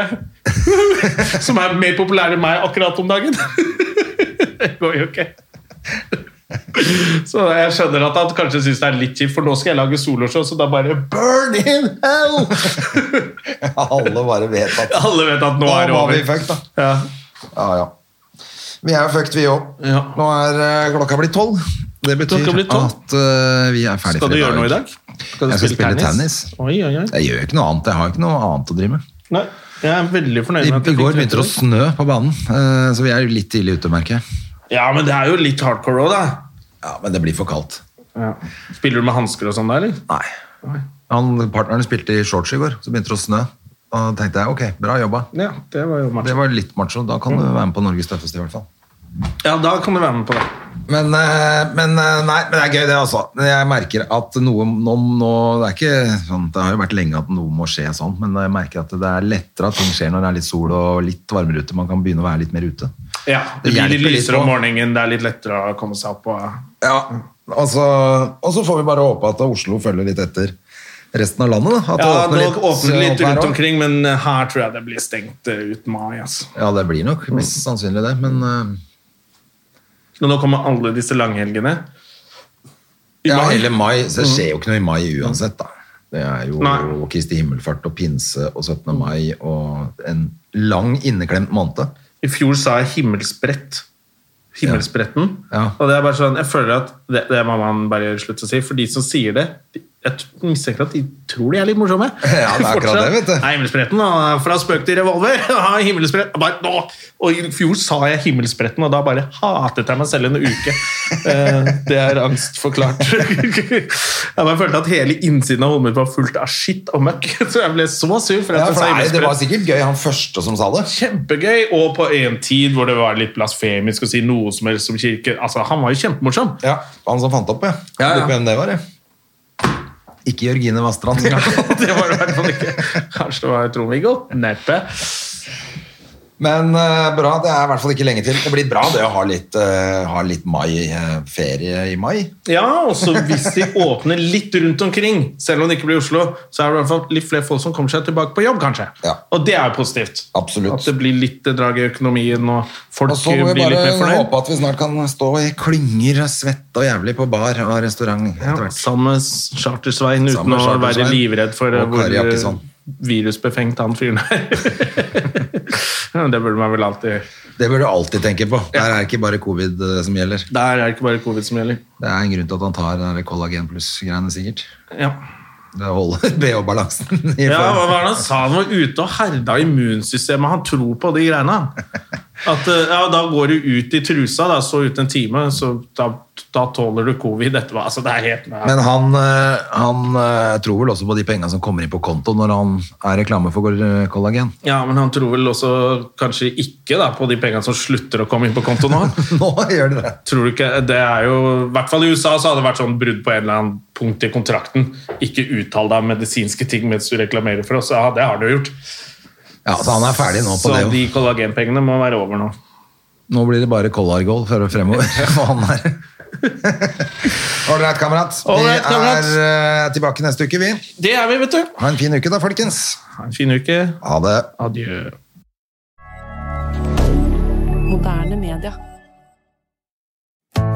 A: som er mer populære enn meg akkurat om dagen. Det går jo ikke. Så jeg skjønner at han kanskje syns det er litt kjipt, for nå skal jeg lage soloshow, så da bare
B: Burn in hell! Alle bare vet at
A: Alle vet at nå er det
B: var vi
A: over.
B: fucked, da.
A: Ja.
B: Ja, ja. Vi er jo fucked, vi òg.
A: Ja.
B: Nå er eh, klokka blitt tolv. Det betyr
A: Klokka blir tolv.
B: at eh, vi er ferdige
A: Skal
B: for
A: du gjøre noe i dag? Skal du
B: Jeg skal spille tennis.
A: Oi, oi, oi.
B: Jeg gjør jo ikke noe annet. Jeg har ikke noe annet å drive med.
A: Nei, jeg er veldig fornøyd
B: I,
A: med at
B: I
A: jeg
B: går
A: fikk
B: begynte det å
A: rett i
B: snø på banen, eh, så vi er litt tidlig ute, merker jeg.
A: dag. Ja, men det er jo litt hardcore òg, da.
B: Ja, men det blir for kaldt.
A: Ja. Spiller du med hansker og sånn da, eller?
B: Nei. Han, partneren spilte i shorts i går, så begynte det å snø. Da tenkte jeg ok, bra jobba.
A: Ja, det var jo
B: Det
A: macho.
B: var litt macho. Da kan du være med på Norges tøffeste, i hvert fall.
A: Ja, da kan du være med på det.
B: Men, eh, men eh, nei, men det er gøy, det, altså. Men Jeg merker at noe nå, nå Det er ikke sånn Det har jo vært lenge at noe må skje sånn, men jeg merker at det er lettere at ting skjer når det er litt sol og litt varmere ute. Man kan begynne å være litt mer ute.
A: Ja,
B: Det
A: det blir litt
B: hjelper litt
A: lysere om
B: på.
A: morgenen, det er litt lettere å komme seg opp og
B: Ja, og så, og så får vi bare håpe at Oslo følger litt etter resten av landet. Da. At det eh,
A: Ja, nå åpner det litt
B: opp her
A: rundt
B: også.
A: omkring, men eh, her tror jeg det blir stengt eh, ut mai, altså.
B: Ja, det blir nok mest sannsynlig det, men eh,
A: Men nå kommer alle disse langhelgene. I
B: ja,
A: mai.
B: hele mai, så det skjer jo ikke noe i mai uansett, da. Det er jo
A: Nei.
B: Kristi himmelfart og pinse og 17. mai og en lang inneklemt måned.
A: I fjor sa jeg himmelsbrett. Himmelspretten.
B: Ja. Ja.
A: Og det er bare sånn, jeg føler at det, det må man bare slutte å si, for de som sier det, de jeg t- mistenker at de tror de er litt morsomme.
B: Ja, det er akkurat
A: Fortsatt.
B: det, vet du.
A: Nei, Himmelspretten, han er fra Spøk til revolver. Ja, Himmelspretten. Jeg Bare, nå. Og I fjor sa jeg Himmelspretten, og da bare hatet jeg meg selv en uke. Eh, det er angstforklart. jeg bare følte at hele innsiden av hodet mitt var fullt av skitt og møkk. Så jeg ble så sur. for at
B: Ja,
A: jeg
B: for det, er,
A: sa
B: det var
A: Himmelspretten.
B: sikkert gøy, han første som sa det.
A: Kjempegøy, og på en tid hvor det var litt blasfemisk å si noe som helst om kirke. Altså, Han var jo kjempemorsom.
B: Ja, Han som fant opp, ja.
A: Ja, ja.
B: Lurer på hvem det var, jeg. Ikke Jørgine Vastrand.
A: det var det i hvert fall ikke. Kanskje det var Trond-Viggo? Neppe.
B: Men eh, bra, det er i hvert fall ikke lenge til. Det blir bra det å ha litt, eh, ha litt mai, eh, ferie i mai.
A: Ja, også hvis de åpner litt rundt omkring, selv om det ikke blir Oslo, så er det i hvert fall litt flere folk som kommer seg tilbake på jobb, kanskje.
B: Ja.
A: Og det er jo positivt.
B: Absolutt.
A: At det blir litt eh, drag i økonomien, og folk
B: Og så må vi
A: blir litt
B: bare
A: mer fornøyd.
B: håpe at vi snart kan stå i klynger svett og jævlig på bar og restaurant
A: Ja,
B: etter hvert.
A: sammen med Chartersvein, uten
B: Sammen med
A: å være
B: Chartersvein.
A: livredd for eh,
B: Og
A: hvor
B: Kari
A: eh,
B: Jakkesson.
A: virusbefengt han fyren er. Ja, det burde man vel alltid
B: Det bør du alltid tenke på. Der er det ikke bare covid eh, som gjelder.
A: Der er det ikke bare covid som gjelder.
B: Det er en grunn til at han tar den der kollagen pluss-greiene, sikkert.
A: Ja.
B: Det holder BH-balansen i
A: Ja, hva
B: form.
A: var det han sa? Han var ute og herda immunsystemet. Han tror på de greiene. han. At eh, ja, Da går du ut i trusa, da, så ut en time, så da, da tåler du covid etterpå. Altså, det er helt
B: Men han, eh, han eh, tror vel også på de pengene som kommer inn på konto når han er reklame for eh, kollagen.
A: Ja, men han tror vel også kanskje ikke da, på de pengene som slutter å komme inn på konto nå.
B: Nå gjør det det.
A: Tror du ikke, det er jo, I hvert fall i USA så hadde det vært sånn brudd på en eller annen punkt i kontrakten. Ikke uttal deg om medisinske ting mens du reklamerer for oss. Ja, det har du jo gjort.
B: Ja, så han er ferdig nå på
A: så
B: det. jo.
A: de kollagenpengene må være over nå.
B: Nå blir det bare Collar Gold fra fremover. Og han er Ålreit, kamerat.
A: All
B: Vi
A: right, kamerat.
B: er eh, tilbake neste uke, vi.
A: Det er vi, vet du!
B: Ha en fin uke da, folkens.
A: Ha en fin uke.
B: Ha det.
A: Adjø.
C: Moderne media.